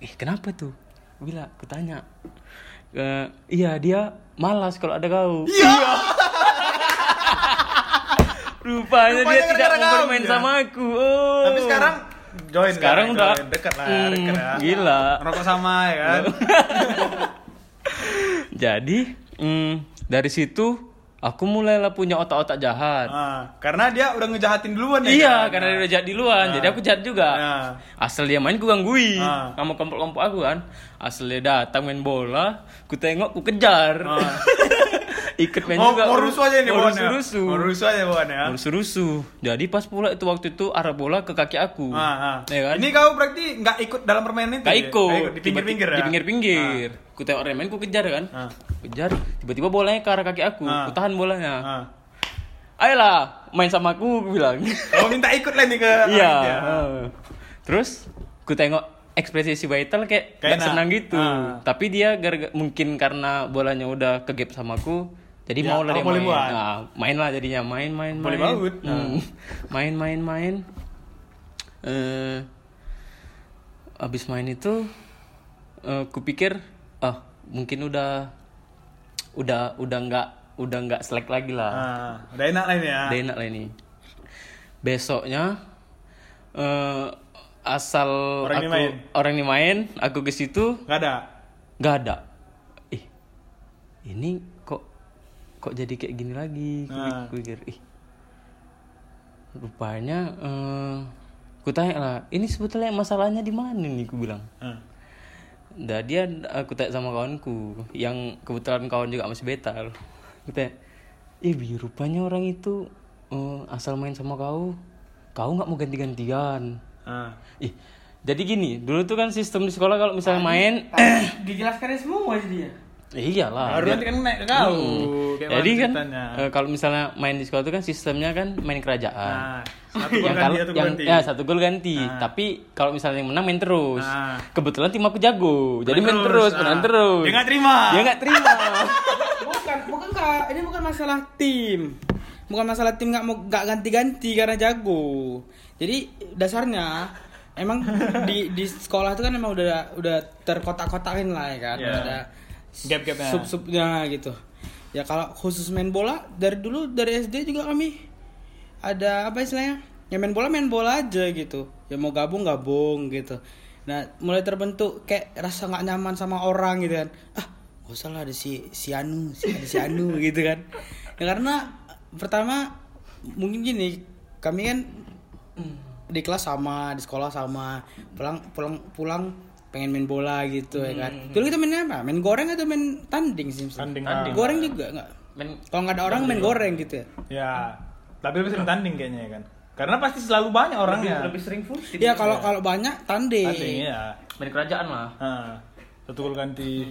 [SPEAKER 4] eh kenapa tuh bila aku tanya Eh, iya dia malas kalau ada kau
[SPEAKER 3] Iya.
[SPEAKER 4] Iya. rupanya, dia
[SPEAKER 3] Rupanya
[SPEAKER 4] tidak
[SPEAKER 3] gara-gara
[SPEAKER 4] mau
[SPEAKER 3] kau,
[SPEAKER 4] bermain
[SPEAKER 3] ya?
[SPEAKER 4] sama aku oh.
[SPEAKER 3] Tapi sekarang join
[SPEAKER 4] Sekarang
[SPEAKER 3] kan,
[SPEAKER 4] udah.
[SPEAKER 3] join. dekat lah,
[SPEAKER 4] Hmm,
[SPEAKER 3] dekat lah.
[SPEAKER 4] gila.
[SPEAKER 3] Rokok sama ya kan.
[SPEAKER 4] Iya. Jadi mm, dari situ aku mulailah punya otak-otak jahat.
[SPEAKER 3] Ah, karena dia udah ngejahatin duluan ya.
[SPEAKER 4] iya,
[SPEAKER 3] kan?
[SPEAKER 4] karena dia udah jahat di luar, jadi aku jahat juga.
[SPEAKER 3] Nah.
[SPEAKER 4] Asal dia main, ku gangguin.
[SPEAKER 3] Ah.
[SPEAKER 4] Sama kelompok-kelompok aku kan. Asal dia datang main bola, ku tengok, ku kejar. Ikut main
[SPEAKER 3] Mau,
[SPEAKER 4] juga. kan.
[SPEAKER 3] mau rusuh Nah. Oh, aja ini ya?
[SPEAKER 4] Mau
[SPEAKER 3] bawaannya.
[SPEAKER 4] rusuh-rusuh.
[SPEAKER 3] Mau rusuh aja ya? bawaannya.
[SPEAKER 4] Mau rusuh-rusuh. Jadi pas pula itu waktu itu arah bola ke kaki aku.
[SPEAKER 3] Ah, ah.
[SPEAKER 4] Ya kan?
[SPEAKER 3] Ini kau berarti nggak ikut dalam permainan itu.
[SPEAKER 4] Gak
[SPEAKER 3] ya?
[SPEAKER 4] ikut.
[SPEAKER 3] Nggak Di pinggir-pinggir
[SPEAKER 4] Tiba-
[SPEAKER 3] ya.
[SPEAKER 4] Di pinggir-pinggir. Ku tengok remen, ku kejar kan.
[SPEAKER 3] Ah.
[SPEAKER 4] Kejar, tiba-tiba bolanya ke arah kaki aku.
[SPEAKER 3] Ah.
[SPEAKER 4] Ku tahan bolanya.
[SPEAKER 3] Ah.
[SPEAKER 4] Ayolah, main sama aku, ku bilang.
[SPEAKER 3] Kau minta ikut lah nih ke
[SPEAKER 4] Iya.
[SPEAKER 3] Iya.
[SPEAKER 4] ah. Terus ku tengok ekspresi si Baitel kayak
[SPEAKER 3] Kayak
[SPEAKER 4] gak
[SPEAKER 3] enak.
[SPEAKER 4] senang gitu.
[SPEAKER 3] Ah.
[SPEAKER 4] Tapi dia gara mungkin karena bolanya udah ke gap sama aku, jadi
[SPEAKER 3] Ya,
[SPEAKER 4] mau lah
[SPEAKER 3] kalau
[SPEAKER 4] dia
[SPEAKER 3] boleh
[SPEAKER 4] main.
[SPEAKER 3] buat.
[SPEAKER 4] Nah, main lah jadinya main main
[SPEAKER 3] Boleh Nah.
[SPEAKER 4] main.
[SPEAKER 3] baut.
[SPEAKER 4] Hmm. Main main main. Eh abis main itu eh kupikir ah mungkin udah udah udah nggak udah nggak selek lagi lah.
[SPEAKER 3] Ah, udah enak lah ini ya.
[SPEAKER 4] Udah enak lah ini. Besoknya eh, asal
[SPEAKER 3] Orang ini
[SPEAKER 4] aku
[SPEAKER 3] main.
[SPEAKER 4] orang ini main, aku ke situ
[SPEAKER 3] Gak ada.
[SPEAKER 4] nggak ada. Ih, ini kok kok jadi kayak gini lagi? Ku pik-
[SPEAKER 3] Ah.
[SPEAKER 4] ku pikir, ih. Rupanya eh ku tanya lah, ini sebetulnya masalahnya di mana nih? Ku bilang.
[SPEAKER 3] Ah.
[SPEAKER 4] Nah dia aku tanya sama kawanku yang kebetulan kawan juga masih betal. Aku tanya, "Ih, Bi, rupanya orang itu eh, asal main sama kau, kau nggak mau ganti-gantian."
[SPEAKER 3] Ah.
[SPEAKER 4] Ih, jadi gini, dulu tuh kan sistem di sekolah kalau misalnya main,
[SPEAKER 2] Eh. Dijelaskan semua jadi dia.
[SPEAKER 4] eh, iyalah.
[SPEAKER 3] Baru
[SPEAKER 4] dia-
[SPEAKER 3] nanti kan naik ke kau.
[SPEAKER 4] Hmm.
[SPEAKER 3] Kayak
[SPEAKER 4] Jadi
[SPEAKER 3] mana
[SPEAKER 4] kan
[SPEAKER 3] ceritanya.
[SPEAKER 4] eh, kalau misalnya main di sekolah tuh kan sistemnya kan main kerajaan.
[SPEAKER 3] Nah, satu gol
[SPEAKER 4] kalau-
[SPEAKER 3] ganti, satu gol
[SPEAKER 4] yang-
[SPEAKER 3] ganti.
[SPEAKER 4] ya satu gol ganti. Tapi kalau misalnya yang menang main terus.
[SPEAKER 3] Ah.
[SPEAKER 4] Kebetulan tim aku jago. jadi main
[SPEAKER 3] terus,
[SPEAKER 4] terus,
[SPEAKER 3] ah.
[SPEAKER 4] menang terus.
[SPEAKER 3] Dia nggak terima.
[SPEAKER 4] Dia nggak terima.
[SPEAKER 2] bukan bukan kak ini bukan masalah tim bukan masalah tim nggak mau nggak ganti-ganti karena jago jadi dasarnya emang di di sekolah itu kan emang udah udah terkotak-kotakin lah ya kan
[SPEAKER 3] Iya.
[SPEAKER 2] ada
[SPEAKER 3] Gap-gapnya.
[SPEAKER 2] sub subnya gitu ya kalau khusus main bola dari dulu dari SD juga kami ada apa istilahnya ya main bola main bola aja gitu ya mau gabung gabung gitu nah mulai terbentuk kayak rasa nggak nyaman sama orang gitu kan ah gak usah lah ada si si Anu si ada si Anu gitu kan ya karena pertama mungkin gini kami kan di kelas sama di sekolah sama pulang pulang pulang pengen main bola gitu ya kan dulu kita main apa main goreng atau main tanding ah. sih misalnya?
[SPEAKER 3] Hmm. Tanding, tanding.
[SPEAKER 2] goreng juga nggak
[SPEAKER 4] main
[SPEAKER 2] kalau nggak ada orang main goreng gitu ya
[SPEAKER 3] Ya, tapi lebih sering tanding kayaknya ya kan. Karena pasti selalu banyak orangnya.
[SPEAKER 4] lebih sering full tim.
[SPEAKER 2] Iya kalau kalau banyak tanding.
[SPEAKER 3] tanding ya.
[SPEAKER 4] Main kerajaan lah.
[SPEAKER 2] Hmm.
[SPEAKER 4] Hmm.
[SPEAKER 3] Ah, satu gol ganti.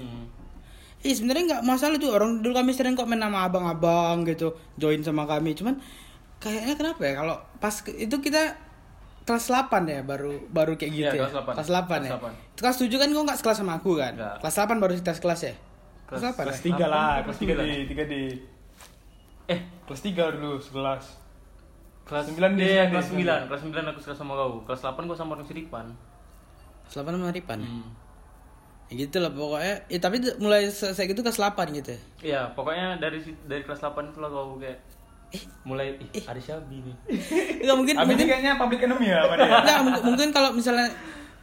[SPEAKER 2] Iya sebenarnya nggak masalah tuh orang dulu kami sering kok main sama abang-abang gitu join sama kami cuman kayaknya kenapa ya kalau pas ke- itu kita kelas 8 ya baru baru kayak gitu ya
[SPEAKER 4] Iya, kelas 8.
[SPEAKER 2] kelas 8 ya
[SPEAKER 4] Kelas 8.
[SPEAKER 2] Itu kelas 7 kan kau nggak sekelas sama aku kan
[SPEAKER 4] Nggak.
[SPEAKER 2] kelas 8 baru kita sekelas ya kelas,
[SPEAKER 4] Kelas-
[SPEAKER 2] 8
[SPEAKER 4] kelas
[SPEAKER 2] ya?
[SPEAKER 4] tiga.
[SPEAKER 3] tiga lah
[SPEAKER 4] Apa?
[SPEAKER 3] kelas
[SPEAKER 4] Tiga
[SPEAKER 3] tiga
[SPEAKER 4] lah.
[SPEAKER 3] di tiga di
[SPEAKER 4] Eh,
[SPEAKER 3] kelas tiga dulu sekelas
[SPEAKER 4] kelas
[SPEAKER 3] Sembilan
[SPEAKER 4] 9
[SPEAKER 3] dia,
[SPEAKER 4] dia,
[SPEAKER 3] sembilan
[SPEAKER 4] kelas
[SPEAKER 3] dia.
[SPEAKER 4] 9. Kelas 9 aku suka sama kau. Kelas 8 gua sama orang Siripan.
[SPEAKER 2] kelas 8 sama Ripan
[SPEAKER 4] Hmm.
[SPEAKER 2] ya gitu lah pokoknya ya, tapi d- mulai se- kayak gitu kelas 8 gitu ya
[SPEAKER 4] Iya, pokoknya dari si- dari kelas 8 itulah kau kayak Eh, mulai ih, ada Syabi nih.
[SPEAKER 2] nggak mungkin
[SPEAKER 3] abis
[SPEAKER 2] mungkin
[SPEAKER 3] ini kayaknya public enemy ya sama dia
[SPEAKER 2] Nggak, mung- mungkin kalau misalnya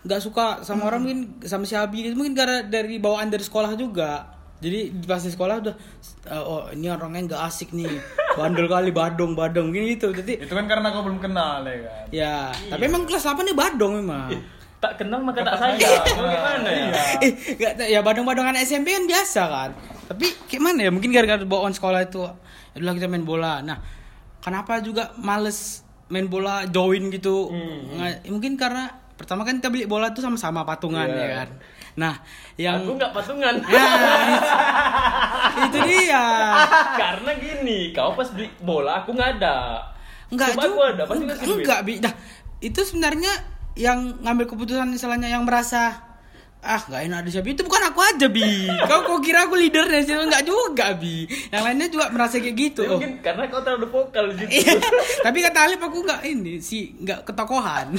[SPEAKER 2] nggak suka sama orang mungkin sama si Abi gitu mungkin karena dari bawaan dari sekolah juga jadi pas di sekolah udah eh, oh ini orangnya nggak asik nih bandel kali badong badong gini gitu jadi
[SPEAKER 3] itu kan karena kau belum kenal ya kan
[SPEAKER 2] ya tapi emang kelas 8 nih badong memang
[SPEAKER 4] Tak kenal maka tak sayang. Bagaimana ya?
[SPEAKER 2] eh nggak tahu, ya badong badongan SMP kan biasa kan tapi kayak mana ya mungkin gara-gara bawaan sekolah itu ya udah kita main bola nah kenapa juga males main bola join gitu Nggak- mungkin karena pertama kan kita beli bola tuh sama-sama patungan ya kan nah yang
[SPEAKER 4] Aku nggak patungan.
[SPEAKER 2] itu dia
[SPEAKER 4] Karena gini, kau pas beli bola aku nggak ada.
[SPEAKER 2] nggak
[SPEAKER 4] Coba aku
[SPEAKER 2] juga
[SPEAKER 4] ada, pasti
[SPEAKER 2] enggak,
[SPEAKER 4] kasih duit.
[SPEAKER 2] enggak, Bi. Dah, itu sebenarnya yang ngambil keputusan misalnya yang merasa ah nggak enak ada siapa itu bukan aku aja bi kau kau kira aku leadernya sih nggak juga bi yang lainnya juga merasa kayak gitu
[SPEAKER 4] Ya,
[SPEAKER 2] Oh.
[SPEAKER 4] mungkin karena kau terlalu vokal di situ.
[SPEAKER 2] Iya. tapi kata Alif aku nggak ini si nggak ketokohan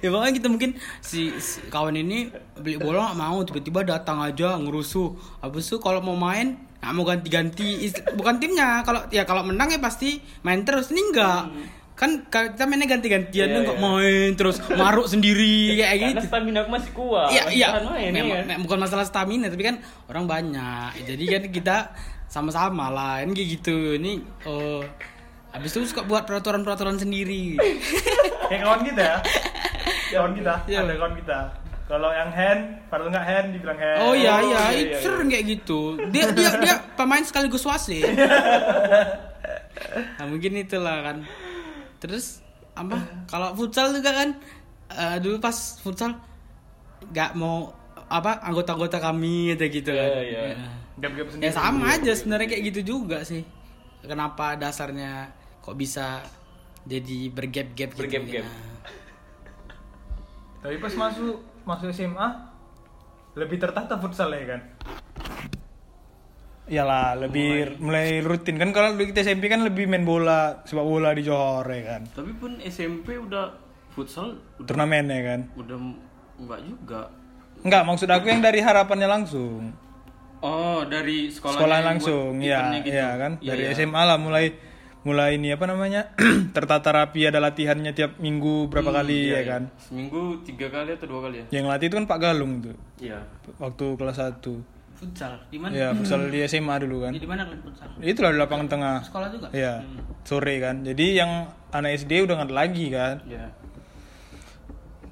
[SPEAKER 2] ya makanya kita mungkin si, si kawan ini beli bola nggak mau tiba-tiba datang aja ngerusuh habis itu kalau mau main nggak mau ganti-ganti Is- bukan timnya kalau ya kalau menang ya pasti main terus ini enggak kan kalau kita mainnya ganti-gantian
[SPEAKER 4] Hmm.
[SPEAKER 2] tuh
[SPEAKER 4] Iya,
[SPEAKER 2] nggak
[SPEAKER 4] iya.
[SPEAKER 2] main terus maruk sendiri kayak
[SPEAKER 4] Karena
[SPEAKER 2] gitu
[SPEAKER 4] stamina aku masih kuat.
[SPEAKER 2] Iya,
[SPEAKER 4] masih
[SPEAKER 2] iya.
[SPEAKER 4] tahan main, ya
[SPEAKER 2] Memang-
[SPEAKER 4] kan?
[SPEAKER 2] me- bukan masalah stamina, tapi kan orang banyak. Jadi kan kita sama-sama lah, kan kayak gitu. Ini oh habis itu suka buat peraturan-peraturan sendiri.
[SPEAKER 3] kayak kawan kita ya kawan kita
[SPEAKER 2] Iya.
[SPEAKER 3] ada kawan kita kalau yang hand padahal nggak hand dibilang hand
[SPEAKER 2] Oh iya iya,
[SPEAKER 3] iya,
[SPEAKER 2] itu sering kayak gitu. Dia dia dia pemain sekaligus wasit. nah, mungkin itulah kan. Terus apa? Kalau futsal juga kan eh, dulu pas futsal nggak mau apa anggota-anggota kami gitu gitu kan.
[SPEAKER 4] Iya, iya.
[SPEAKER 2] Iya.
[SPEAKER 3] gap-gap sendiri
[SPEAKER 2] Ya sama aja sebenarnya kayak gitu juga sih. Kenapa dasarnya kok bisa jadi bergap-gap gitu? Nah,
[SPEAKER 4] Bergap-gap.
[SPEAKER 3] tapi pas masuk masuk SMA lebih tertata futsal ya kan Iyalah, lebih mulai rutin kan kalau dulu kita SMP kan lebih main bola, sepak bola di Johor ya kan.
[SPEAKER 4] Tapi pun SMP udah futsal udah
[SPEAKER 3] Turnamen ya kan.
[SPEAKER 4] udah enggak juga.
[SPEAKER 3] Enggak, maksud aku yang dari harapannya langsung.
[SPEAKER 4] Oh, dari sekolah
[SPEAKER 3] Sekolah langsung,
[SPEAKER 2] iya,
[SPEAKER 3] ya,
[SPEAKER 4] gitu.
[SPEAKER 3] ya kan.
[SPEAKER 4] Iya,
[SPEAKER 3] dari SMA lah mulai mulai ini apa namanya? tertata rapi ada latihannya tiap minggu berapa kali ya kan.
[SPEAKER 4] Seminggu tiga kali atau dua kali ya?
[SPEAKER 3] Yang latih itu kan Pak Galung tuh
[SPEAKER 4] Iya.
[SPEAKER 3] waktu kelas 1.
[SPEAKER 2] futsal di mana?
[SPEAKER 3] Ya, futsal di SMA dulu kan.
[SPEAKER 2] Di mana kalian futsal?
[SPEAKER 3] Itulah di lapangan tengah.
[SPEAKER 2] Sekolah juga.
[SPEAKER 3] Ya, sore kan. Jadi yang anak SD udah nggak ada lagi kan.
[SPEAKER 4] Iya.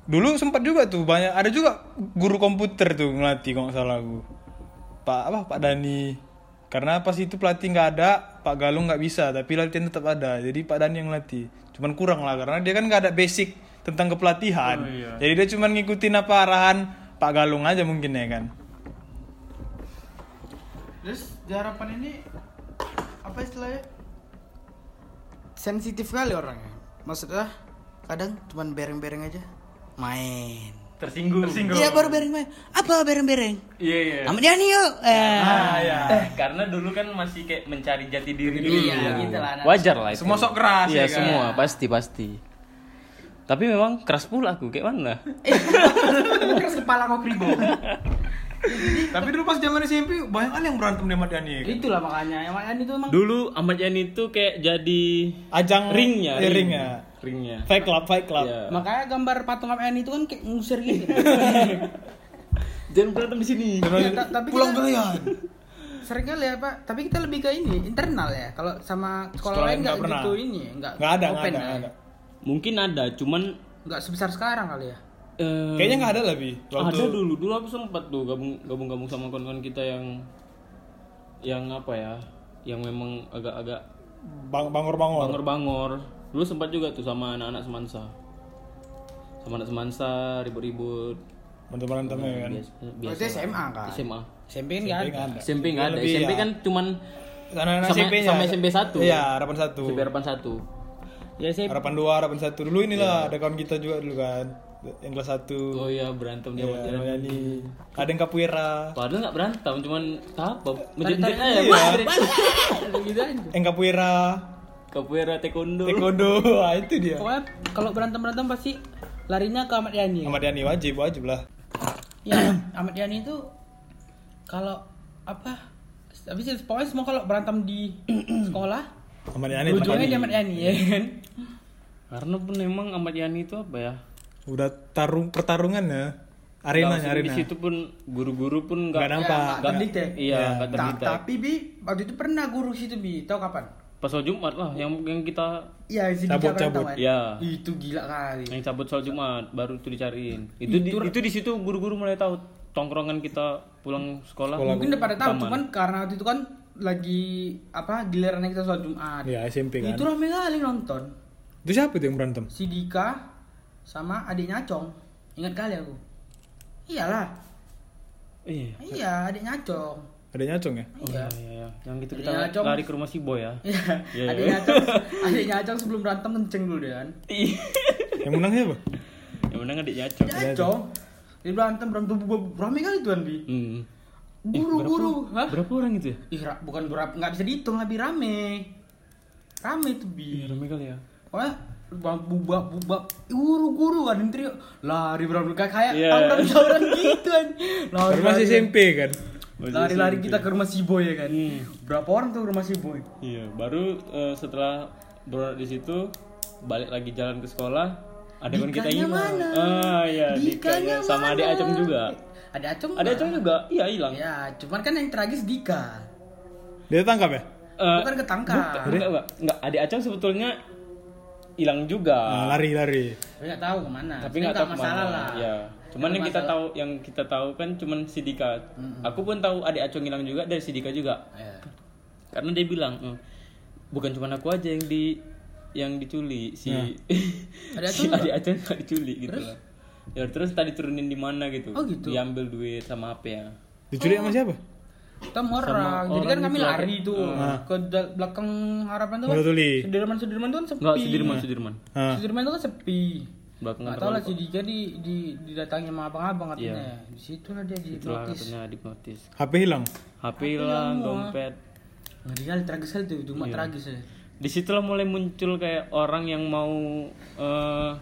[SPEAKER 3] Dulu sempat juga tuh banyak ada juga guru komputer tuh ngelatih kalau nggak salah aku. Pak apa Pak Dani. Karena pas itu pelatih nggak ada, Pak Galung nggak bisa, tapi latihan tetap ada. Jadi Pak Dani yang ngelatih. Cuman kurang lah karena dia kan nggak ada basic tentang kepelatihan. Jadi dia cuman ngikutin apa arahan Pak Galung aja mungkin ya kan.
[SPEAKER 2] Terus di harapan ini apa istilahnya? Sensitif kali orangnya. Maksudnya kadang cuman bereng-bereng aja main.
[SPEAKER 4] Tersinggung. Tersinggung.
[SPEAKER 2] Iya baru bereng main. Apa bereng-bereng?
[SPEAKER 4] Iya, iya.
[SPEAKER 2] Sama dia nih yuk. Eh.
[SPEAKER 4] Eh, karena dulu kan masih kayak mencari jati diri dulu.
[SPEAKER 2] Iya, gitu lah, anak.
[SPEAKER 4] Wajar lah itu.
[SPEAKER 3] Semua sok keras
[SPEAKER 4] Iya,
[SPEAKER 3] ya kan?
[SPEAKER 4] semua pasti pasti. Tapi memang keras pula aku kayak mana?
[SPEAKER 2] Eh. Keras kepala kok kribo.
[SPEAKER 3] tapi dulu pas zaman SMP banyak kali yang berantem dengan Pak Dani
[SPEAKER 4] Iya.
[SPEAKER 3] ya kan.
[SPEAKER 2] Itulah makanya. Yang lain itu emang
[SPEAKER 4] Dulu Ahmad Yani itu kayak jadi
[SPEAKER 3] Ajang
[SPEAKER 4] ringnya,
[SPEAKER 3] eh, ringnya.
[SPEAKER 4] ringnya.
[SPEAKER 3] Fight club, fight club.
[SPEAKER 4] ya, Iya.
[SPEAKER 2] Makanya gambar patung APN itu kan kayak ngusir gitu.
[SPEAKER 4] Jangan berantem di sini.
[SPEAKER 3] Iya.
[SPEAKER 2] Ya, ta- tapi pulang kalian. Sering kali ya Pak, tapi kita lebih ke ini internal ya. Kalau sama sekolah,
[SPEAKER 3] Sekolah
[SPEAKER 2] lain
[SPEAKER 3] nggak
[SPEAKER 2] nggak
[SPEAKER 3] pernah.
[SPEAKER 2] gitu ini, nggak
[SPEAKER 3] Nggak ada, nggak
[SPEAKER 2] open
[SPEAKER 3] ada,
[SPEAKER 2] ya.
[SPEAKER 3] nggak ada.
[SPEAKER 4] Mungkin ada, cuman
[SPEAKER 2] Nggak sebesar sekarang kali ya.
[SPEAKER 4] eh,
[SPEAKER 3] Kayaknya nggak ada lebih.
[SPEAKER 4] ada dulu dulu aku sempat tuh gabung gabung gabung sama kawan-kawan kita yang yang apa ya yang memang agak-agak
[SPEAKER 3] bang bangor bangor.
[SPEAKER 4] bangor-bangor dulu sempat juga tuh sama anak-anak semansa sama anak semansa ribut-ribut
[SPEAKER 3] Berantem berantem ya kan.
[SPEAKER 4] biasa, biasa
[SPEAKER 2] Berarti SMA kan.
[SPEAKER 4] SMA
[SPEAKER 2] SMP kan nggak ada.
[SPEAKER 4] SMP nggak ada.
[SPEAKER 3] Lebih,
[SPEAKER 4] SMP
[SPEAKER 3] ya.
[SPEAKER 4] kan cuman
[SPEAKER 3] Anak-anak
[SPEAKER 4] sama,
[SPEAKER 3] SMP-nya.
[SPEAKER 4] sama SMP 1.
[SPEAKER 3] Iya, harapan satu.
[SPEAKER 4] SMP harapan 1. Ya SMP.
[SPEAKER 3] Harapan dua, harapan satu dulu
[SPEAKER 4] Iya.
[SPEAKER 3] inilah ada kawan kita juga dulu kan. Yang kelas satu.
[SPEAKER 4] Oh iya berantem dia
[SPEAKER 3] Ya,
[SPEAKER 4] sama dia.
[SPEAKER 3] namanya nih. Ada yang capoeira.
[SPEAKER 4] Padahal nggak berantem, cuman apa? Menjerit aja.
[SPEAKER 3] iya.
[SPEAKER 2] kan
[SPEAKER 4] Wah, gitu aja.
[SPEAKER 3] Yang capoeira,
[SPEAKER 4] Capoeira, taekwondo.
[SPEAKER 3] taekwondo, Wah, itu dia.
[SPEAKER 2] Pokoknya kalau berantem berantem pasti larinya ke Ahmad Yani.
[SPEAKER 3] Ahmad Yani wajib, wajib lah.
[SPEAKER 2] Ya, Ahmad Yani itu kalau apa? Habis itu pokoknya semua kalau berantem di sekolah,
[SPEAKER 3] Ahmad Yani tempat
[SPEAKER 2] ujungnya
[SPEAKER 3] ini.
[SPEAKER 2] di Ahmad Yani ya kan.
[SPEAKER 4] Karena pun emang Ahmad Yani itu apa ya?
[SPEAKER 3] Udah tarung pertarungan ya. Arenanya,
[SPEAKER 4] Langsung
[SPEAKER 3] arena.
[SPEAKER 4] di situ pun guru-guru pun
[SPEAKER 3] Gak
[SPEAKER 4] nggak
[SPEAKER 3] nampak.
[SPEAKER 2] nggak terdikte.
[SPEAKER 4] iya nggak
[SPEAKER 2] Ta-
[SPEAKER 4] terlihat.
[SPEAKER 2] tapi bi waktu itu pernah guru situ bi, tau kapan?
[SPEAKER 4] Pas soal Jumat lah yang yang kita
[SPEAKER 2] Iya, si Dijak
[SPEAKER 3] Cabut,
[SPEAKER 2] berantem
[SPEAKER 3] cabut.
[SPEAKER 2] kan.
[SPEAKER 4] Iya.
[SPEAKER 2] Itu gila kali.
[SPEAKER 4] yang cabut soal Jumat baru itu dicariin. Itu di, itu di situ guru-guru mulai tahu tongkrongan kita pulang sekolah.
[SPEAKER 2] Mungkin udah pada tahu,
[SPEAKER 4] Taman.
[SPEAKER 2] cuman karena waktu itu kan lagi apa gilirannya kita sholat Jumat.
[SPEAKER 3] Ya, SMP kan.
[SPEAKER 2] Itu rame kali nonton.
[SPEAKER 3] Itu siapa itu yang berantem?
[SPEAKER 2] Si Dika sama adiknya Acong. Ingat kali aku. Iyalah.
[SPEAKER 4] Iya.
[SPEAKER 2] Iya, adiknya Acong.
[SPEAKER 3] Ada nyacung ya?
[SPEAKER 2] Iya.
[SPEAKER 4] Iya, iya, iya. Yang gitu kita
[SPEAKER 2] Adiknya Acong.
[SPEAKER 4] lari ke rumah si Boy ya.
[SPEAKER 2] Iya,
[SPEAKER 4] Iya, iya.
[SPEAKER 2] adiknya Acong, adiknya Acong sebelum berantem kenceng dulu deh kan.
[SPEAKER 3] Yang menang siapa?
[SPEAKER 4] yang menang adiknya Acong.
[SPEAKER 2] Adiknya Acong. Dia berantem berantem berantem, rame kali tuh Andi.
[SPEAKER 4] Hmm.
[SPEAKER 2] Buru-buru, hah?
[SPEAKER 4] Berapa orang itu ya?
[SPEAKER 2] Ih, ra- bukan berapa, nggak bisa dihitung lebih rame. Rame tuh bi.
[SPEAKER 4] Iya, ramai kali ya.
[SPEAKER 2] Wah, bubak bubak bubak guru-guru kan intri lari berapa kayak kayak
[SPEAKER 4] Iya.
[SPEAKER 2] tawuran-tawuran gitu kan. Lari,
[SPEAKER 3] Baru masih
[SPEAKER 2] lari.
[SPEAKER 3] SMP kan?
[SPEAKER 2] Lari-lari kita ke rumah si Boy ya kan.
[SPEAKER 4] Hmm.
[SPEAKER 2] Berapa orang tuh ke rumah si Boy?
[SPEAKER 4] Iya, baru eh, setelah beronak di situ balik lagi jalan ke sekolah ada kan kita
[SPEAKER 2] Dikanya
[SPEAKER 4] hilang.
[SPEAKER 2] mana?
[SPEAKER 4] Ah, iya,
[SPEAKER 2] Dikanya
[SPEAKER 4] dikanya sama
[SPEAKER 2] mana?
[SPEAKER 4] adik Acong juga.
[SPEAKER 2] Ada Acong.
[SPEAKER 4] Ada Acong juga? Iya, hilang.
[SPEAKER 2] Ya, cuman kan yang tragis Dika.
[SPEAKER 3] Dia tangkap ya?
[SPEAKER 4] Eh,
[SPEAKER 2] Bukan ketangkap.
[SPEAKER 4] enggak, enggak, enggak. Adik Acong sebetulnya hilang juga.
[SPEAKER 3] Ah, lari-lari.
[SPEAKER 2] Nah, Tapi nggak tahu kemana.
[SPEAKER 4] tapi nggak tahu
[SPEAKER 2] masalah
[SPEAKER 4] kemana.
[SPEAKER 2] lah.
[SPEAKER 4] Iya. Cuman
[SPEAKER 2] Nggak
[SPEAKER 4] yang kita
[SPEAKER 2] masalah.
[SPEAKER 4] tahu yang kita tahu kan cuman Sidika. Aku pun tahu adik Acong hilang juga dari Sidika juga.
[SPEAKER 2] Iya.
[SPEAKER 4] Karena dia bilang, "Hmm, bukan cuman aku aja yang di yang diculik si
[SPEAKER 2] Iya. Adik
[SPEAKER 4] si
[SPEAKER 2] Acong
[SPEAKER 4] adik Acong nggak diculik gitu lah. Ya terus tadi turunin di mana gitu.
[SPEAKER 2] Oh, gitu.
[SPEAKER 4] Diambil duit sama HP ya.
[SPEAKER 3] Diculik sama siapa?
[SPEAKER 2] Ketemu orang. Jadi kan kami lari tuh
[SPEAKER 4] Ah.
[SPEAKER 2] ke dal- belakang harapan tuh.
[SPEAKER 3] Nggak tuli.
[SPEAKER 2] Sudirman Sudirman tuh kan sepi.
[SPEAKER 4] Enggak, Sudirman, Sudirman.
[SPEAKER 3] Ah.
[SPEAKER 2] Sudirman tuh kan sepi.
[SPEAKER 4] Belakang
[SPEAKER 2] Nggak tahu lah si Dika di, di didatangi sama abang-abang
[SPEAKER 4] Iya.
[SPEAKER 2] katanya. Di situ lah dia di
[SPEAKER 4] Itulah
[SPEAKER 2] notis.
[SPEAKER 4] katanya dihipnotis.
[SPEAKER 3] HP hilang.
[SPEAKER 4] HP hilang, dompet.
[SPEAKER 2] Ngeri kali tragis kali tuh,
[SPEAKER 4] Iya.
[SPEAKER 2] cuma tragis
[SPEAKER 3] Iya,
[SPEAKER 2] ya.
[SPEAKER 4] Disitulah mulai muncul kayak orang yang mau eh,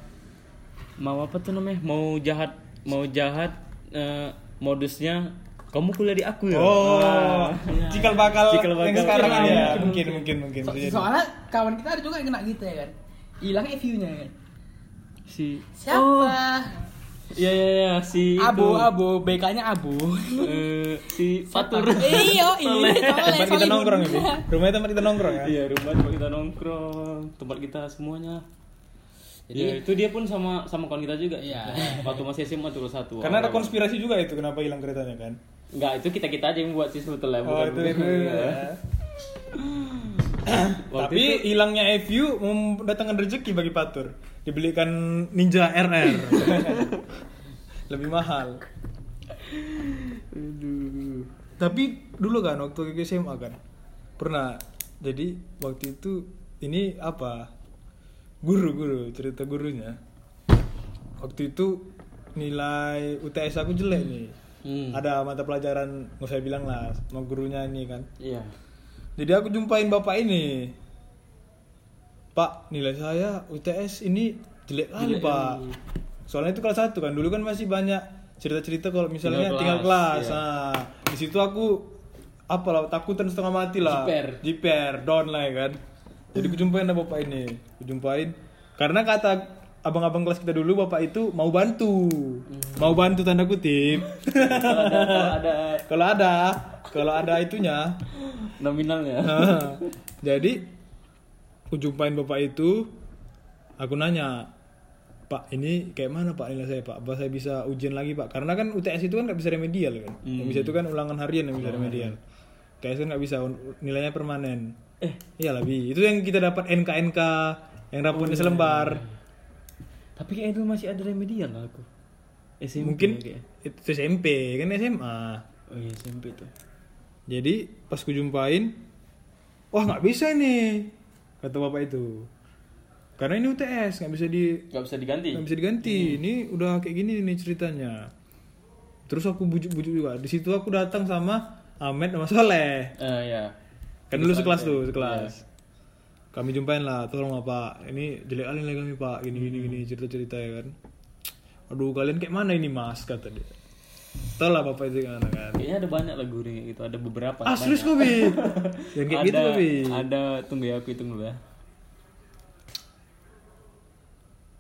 [SPEAKER 4] mau apa tuh namanya? Mau jahat, mau jahat eh, modusnya kamu kuliah di aku ya. iya.
[SPEAKER 3] Oh, cikal bakal
[SPEAKER 4] Cikal
[SPEAKER 3] yang
[SPEAKER 4] bakal.
[SPEAKER 3] sekarang
[SPEAKER 4] Iya,
[SPEAKER 3] ya. Mungkin, mungkin, mungkin.
[SPEAKER 2] So-
[SPEAKER 3] bisa jadi.
[SPEAKER 2] soalnya kawan kita ada juga yang kena gitu ya kan. Hilang view-nya ya kan.
[SPEAKER 4] Si
[SPEAKER 2] Siapa?
[SPEAKER 4] Iya iya iya si
[SPEAKER 2] Abu,
[SPEAKER 4] itu.
[SPEAKER 2] Abu, BK-nya Abu.
[SPEAKER 4] Eh, si Fatur.
[SPEAKER 2] Iya, iya,
[SPEAKER 3] Tempat kita nongkrong ya, Bi? Rumahnya tempat kita nongkrong ya.
[SPEAKER 4] Iya, rumah tempat kita nongkrong, tempat kita semuanya. Jadi itu dia pun sama sama kawan kita juga.
[SPEAKER 2] Iya.
[SPEAKER 4] Waktu masih SMA turun satu.
[SPEAKER 3] Karena ada konspirasi juga itu kenapa hilang keretanya kan.
[SPEAKER 4] Enggak, itu kita-kita aja yang buat sih sebetulnya,
[SPEAKER 3] Oh,
[SPEAKER 4] bukan.
[SPEAKER 3] itu.
[SPEAKER 4] bukan.
[SPEAKER 3] iya.
[SPEAKER 4] Waktu
[SPEAKER 3] Tapi hilangnya FU mendatangkan rezeki bagi Patur. Dibelikan Ninja RR. Lebih mahal. Tapi dulu kan waktu ke SMA kan pernah jadi waktu itu ini apa guru-guru cerita gurunya waktu itu nilai UTS aku jelek nih
[SPEAKER 4] Hmm.
[SPEAKER 3] ada mata pelajaran nggak saya bilang lah sama gurunya ini kan
[SPEAKER 4] Iya.
[SPEAKER 3] jadi aku jumpain bapak ini pak nilai saya UTS ini jelek kali pak
[SPEAKER 4] iya.
[SPEAKER 3] soalnya itu kelas satu kan dulu kan masih banyak cerita-cerita kalau misalnya
[SPEAKER 4] Tinggal
[SPEAKER 3] tinggal
[SPEAKER 4] kelas, iya.
[SPEAKER 3] kelas, nah di situ aku apalah takutan setengah mati lah
[SPEAKER 4] Jiper.
[SPEAKER 3] jiper down lah ya kan jadi kujumpain lah bapak ini kujumpain karena kata abang-abang kelas kita dulu bapak itu mau bantu mau bantu tanda kutip
[SPEAKER 4] Hmm. Kalau ada, kalau ada
[SPEAKER 3] kalau ada kalau ada itunya
[SPEAKER 4] nominalnya.
[SPEAKER 3] Nah, jadi aku jumpain bapak itu aku nanya pak ini kayak mana pak nilai saya pak apa saya bisa ujian lagi pak karena kan UTS itu kan nggak bisa remedial kan yang bisa itu kan ulangan harian yang bisa remedial UTS kan nggak bisa un- nilainya permanen eh iya lebih itu yang kita dapat NKNK yang rapotnya selembar
[SPEAKER 4] Tapi kayak itu masih ada remedial lah aku. SMP
[SPEAKER 3] mungkin
[SPEAKER 4] kayak.
[SPEAKER 3] itu SMP kan SMA
[SPEAKER 4] Oh iya SMP tuh.
[SPEAKER 3] Jadi pas ku jumpain, wah nggak bisa nih kata bapak itu. Karena ini UTS nggak bisa di
[SPEAKER 4] Gak bisa diganti.
[SPEAKER 3] nggak bisa diganti. Ini udah kayak gini nih ceritanya. Terus aku bujuk-bujuk juga. Di situ aku datang sama Ahmed sama Soleh.
[SPEAKER 4] Eh ya.
[SPEAKER 3] Kan dulu sekelas tuh, sekelas. Kami jumpain lah, tolong lah pak. Ini jelek alin lagi kami pak. Gini gini gini cerita-cerita ya kan. Aduh kalian kayak mana ini mas kata dia. Tau lah bapak itu gimana kan.
[SPEAKER 4] Kayaknya ada banyak lagu nih gitu, ada beberapa.
[SPEAKER 3] Ah serius kok bi. Jangan kayak
[SPEAKER 4] ada,
[SPEAKER 3] gitu kok bi.
[SPEAKER 4] Ada tunggu ya aku hitung dulu ya.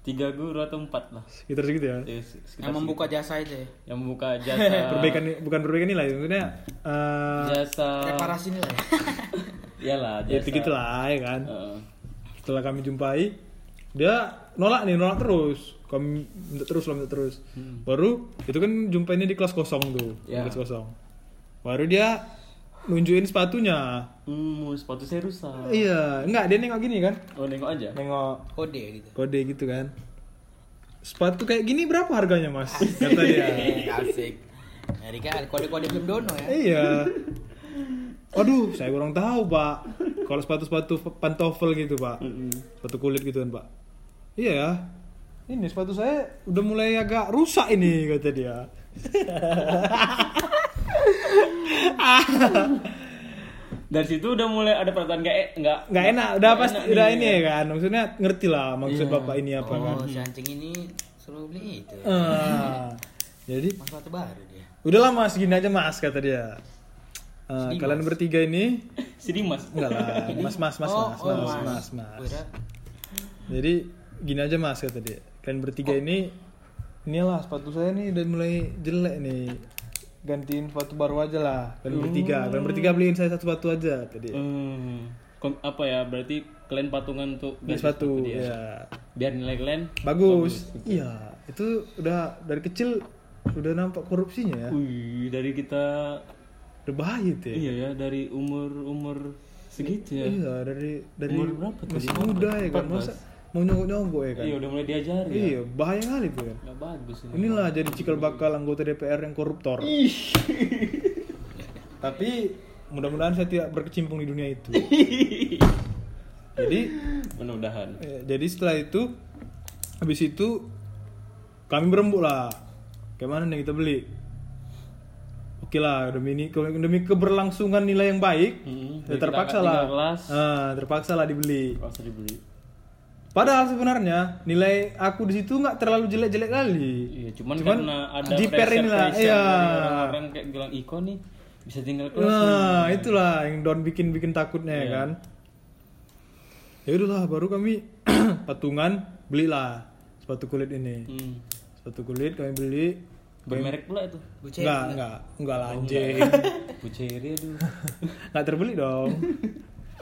[SPEAKER 4] Tiga guru atau empat lah.
[SPEAKER 3] Sekitar segitu ya.
[SPEAKER 4] Eh, se- sekitar
[SPEAKER 2] yang membuka jasa itu ya
[SPEAKER 4] yang membuka jasa
[SPEAKER 3] Perbaikan bukan perbaikan nilai maksudnya. eh
[SPEAKER 4] jasa
[SPEAKER 2] reparasi nilai
[SPEAKER 4] iyalah
[SPEAKER 3] ya
[SPEAKER 4] jasa
[SPEAKER 3] gitu lah ya kan.
[SPEAKER 4] Heeh.
[SPEAKER 3] setelah kami jumpai dia nolak nih nolak terus kami minta terus lah minta terus
[SPEAKER 4] Hmm.
[SPEAKER 3] baru itu kan jumpainya di kelas kosong tuh di
[SPEAKER 4] Ya.
[SPEAKER 3] kelas kosong baru dia nunjukin sepatunya
[SPEAKER 4] hmm sepatu saya rusak
[SPEAKER 3] iya enggak dia nengok gini kan
[SPEAKER 4] oh nengok aja
[SPEAKER 3] nengok
[SPEAKER 2] kode gitu
[SPEAKER 3] kode gitu kan sepatu kayak gini berapa harganya mas kata dia
[SPEAKER 2] Eh, asik Erika Eh, ada kode-kode film dono ya
[SPEAKER 3] iya Waduh, saya kurang tahu pak. Kalau sepatu-sepatu pantofel gitu pak, sepatu kulit gitu kan pak. Iya ya. Ini sepatu saya udah mulai agak rusak ini kata dia.
[SPEAKER 4] dari situ udah mulai ada perasaan nggak e- nggak
[SPEAKER 3] Nggak enak, udah
[SPEAKER 4] nggak
[SPEAKER 3] pasti
[SPEAKER 4] enak
[SPEAKER 3] udah
[SPEAKER 4] nih,
[SPEAKER 3] ini ya kan. Maksudnya ngerti lah maksud bapak ini apa kan.
[SPEAKER 2] oh si anjing ini suruh beli itu
[SPEAKER 3] Ah, jadi
[SPEAKER 2] mas waktu baru dia
[SPEAKER 3] udahlah mas gini aja mas kata dia. Ah,
[SPEAKER 2] Sedih,
[SPEAKER 3] kalian bertiga ini
[SPEAKER 4] si Dimas
[SPEAKER 3] enggak lah, mas mas mas
[SPEAKER 2] Oh,
[SPEAKER 3] mas
[SPEAKER 2] oh,
[SPEAKER 3] mas
[SPEAKER 2] mas.
[SPEAKER 3] mas mas.
[SPEAKER 2] Kira
[SPEAKER 3] Jadi gini aja mas kata dia. Kalian bertiga
[SPEAKER 4] Oh.
[SPEAKER 3] ini inilah sepatu saya nih udah mulai jelek nih. Gantiin sepatu baru aja lah. Kalian bertiga, kalian bertiga beliin saya satu sepatu aja tadi.
[SPEAKER 4] hmm. Kom- apa ya berarti kalian patungan untuk ganti
[SPEAKER 3] Beli sepatu,
[SPEAKER 4] dia.
[SPEAKER 3] ya.
[SPEAKER 4] biar nilai kalian
[SPEAKER 3] Bagus. Iya, itu udah dari kecil udah nampak korupsinya ya.
[SPEAKER 4] wih dari kita
[SPEAKER 3] Udah bahaya ya.
[SPEAKER 4] Hmm. iya ya dari umur umur segitu ya
[SPEAKER 3] Iya, dari dari
[SPEAKER 4] Umur berapa tuh
[SPEAKER 3] masih
[SPEAKER 4] dia?
[SPEAKER 3] muda ya kan. Masa
[SPEAKER 4] 14?
[SPEAKER 3] mau nyogok-nyogok ya kan.
[SPEAKER 4] iya udah mulai diajarin ya.
[SPEAKER 3] Iya, bahaya kali tuh kan.
[SPEAKER 4] nggak bagus ini
[SPEAKER 3] Inilah jadi cikal bakal anggota DPR yang koruptor. Tapi mudah-mudahan saya tidak berkecimpung di dunia itu. jadi
[SPEAKER 4] mudah-mudahan
[SPEAKER 3] eh, jadi setelah itu habis itu kami berembuk lah. Kayak mana nih kita beli? Oke lah demi ini demi keberlangsungan nilai yang baik,
[SPEAKER 4] Mm-mm.
[SPEAKER 3] ya
[SPEAKER 4] Jadi kita
[SPEAKER 3] terpaksa
[SPEAKER 4] angkat
[SPEAKER 3] lah.
[SPEAKER 4] Hmm, tiga kelas.
[SPEAKER 3] Ah, terpaksa lah dibeli.
[SPEAKER 4] kalau dibeli
[SPEAKER 3] Padahal sebenarnya nilai aku di situ nggak terlalu jelek-jelek kali.
[SPEAKER 4] Iya, cuman,
[SPEAKER 3] Cuman
[SPEAKER 4] karena ada
[SPEAKER 3] jiper
[SPEAKER 4] pressure-
[SPEAKER 3] inilah,
[SPEAKER 4] pressure
[SPEAKER 3] iya.
[SPEAKER 4] dari orang-orang kayak bilang Iko nih bisa tinggal kelas.
[SPEAKER 3] Nah, itulah yang Don bikin-bikin takutnya ya
[SPEAKER 4] Iya.
[SPEAKER 3] kan. Ya udahlah, baru kami patungan belilah sepatu kulit ini.
[SPEAKER 4] Hmm.
[SPEAKER 3] Sepatu kulit kami beli.
[SPEAKER 4] Bermerek pula itu.
[SPEAKER 2] buce
[SPEAKER 3] Enggak, enggak, enggak
[SPEAKER 4] Oh,
[SPEAKER 3] lah anjing.
[SPEAKER 4] Buceri aduh.
[SPEAKER 3] Enggak terbeli dong.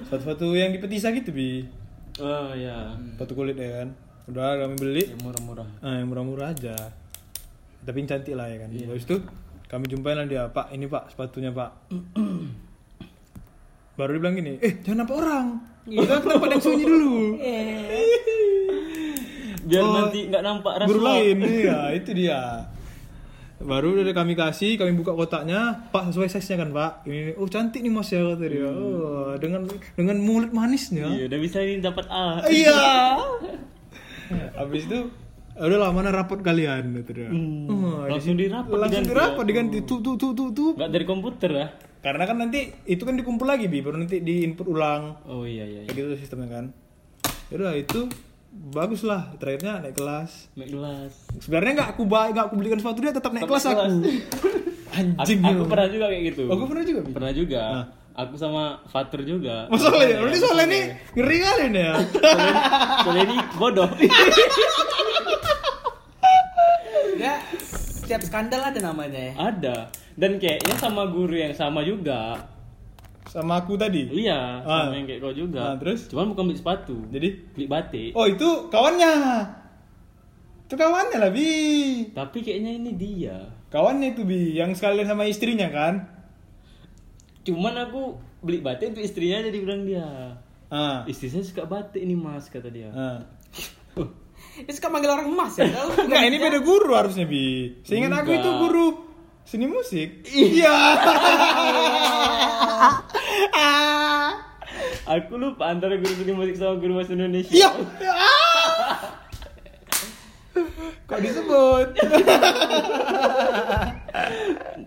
[SPEAKER 3] Sepatu-sepatu yang di petisa gitu, Bi.
[SPEAKER 4] Oh ya,
[SPEAKER 3] Sepatu kulit ya kan. Udah kami beli.
[SPEAKER 4] yang murah-murah.
[SPEAKER 3] Ah, yang murah-murah aja. Tapi yang cantik lah ya kan.
[SPEAKER 4] Iya.
[SPEAKER 3] Habis itu kami jumpain lah dia, Pak, ini Pak sepatunya Pak. Baru dibilang gini, eh jangan apa orang.
[SPEAKER 2] Iya,
[SPEAKER 3] Kita kita pada sunyi dulu.
[SPEAKER 4] Biar
[SPEAKER 3] Oh,
[SPEAKER 4] nanti nggak nampak rasa.
[SPEAKER 3] Guru lain, iya itu dia. Baru udah kami kasih, kami buka kotaknya, Pak sesuai size-nya kan Pak. Ini, oh cantik nih Mas ya kata dia. Oh, dengan dengan mulut manisnya.
[SPEAKER 4] Hmm. Iya, udah bisa ini dapat A.
[SPEAKER 3] Iya. Habis itu udahlah mana rapot kalian gitu dia. Wah,
[SPEAKER 4] Hmm. Langsung
[SPEAKER 3] di-
[SPEAKER 4] dirapot
[SPEAKER 3] Langsung
[SPEAKER 4] diganti Oh.
[SPEAKER 3] dirapot diganti tuh tuh tuh tuh tuh.
[SPEAKER 4] Nggak dari komputer ya?
[SPEAKER 3] Karena kan nanti itu kan dikumpul lagi bi, baru nanti di input ulang
[SPEAKER 4] Oh iya iya.
[SPEAKER 3] kayak gitu sistemnya kan. Yaudah itu bagus lah terakhirnya naik kelas.
[SPEAKER 4] Naik kelas.
[SPEAKER 3] Sebenarnya nggak aku ba- nggak aku belikan sepatu dia tetap naik kelas aku. Anjing
[SPEAKER 4] Aku, aku
[SPEAKER 3] lu.
[SPEAKER 4] pernah juga kayak gitu.
[SPEAKER 3] Oh, aku pernah juga bi.
[SPEAKER 4] Pernah juga. Aku sama Fatur juga.
[SPEAKER 3] Masalah ya, berarti soalnya ini ngeri kali nih ya.
[SPEAKER 4] Soalnya ini bodoh.
[SPEAKER 2] enggak setiap skandal ada namanya ya
[SPEAKER 4] Ada. Dan kayaknya sama guru yang sama juga.
[SPEAKER 3] Sama aku tadi.
[SPEAKER 4] Iya,
[SPEAKER 3] Ah.
[SPEAKER 4] sama yang kayak kau juga.
[SPEAKER 3] Ah, terus?
[SPEAKER 4] Cuman bukan beli sepatu.
[SPEAKER 3] Jadi?
[SPEAKER 4] beli batik.
[SPEAKER 3] Oh itu kawannya. Itu kawannya lah bi.
[SPEAKER 4] Tapi kayaknya ini dia.
[SPEAKER 3] Kawannya itu bi, yang sekalian sama istrinya kan?
[SPEAKER 4] Cuman aku beli batik untuk istrinya jadi bilang dia.
[SPEAKER 3] Ah.
[SPEAKER 4] Istri saya suka batik nih Mas kata dia.
[SPEAKER 3] ah.
[SPEAKER 2] Ini suka manggil orang emas ya?
[SPEAKER 3] Enggak, ini beda guru harusnya bi. Seingat aku
[SPEAKER 4] Enggak.
[SPEAKER 3] itu guru Seni musik. Iya. Ah.
[SPEAKER 4] Aku lupa antara guru seni musik sama guru bahasa Indonesia.
[SPEAKER 3] Iya. Kok disebut?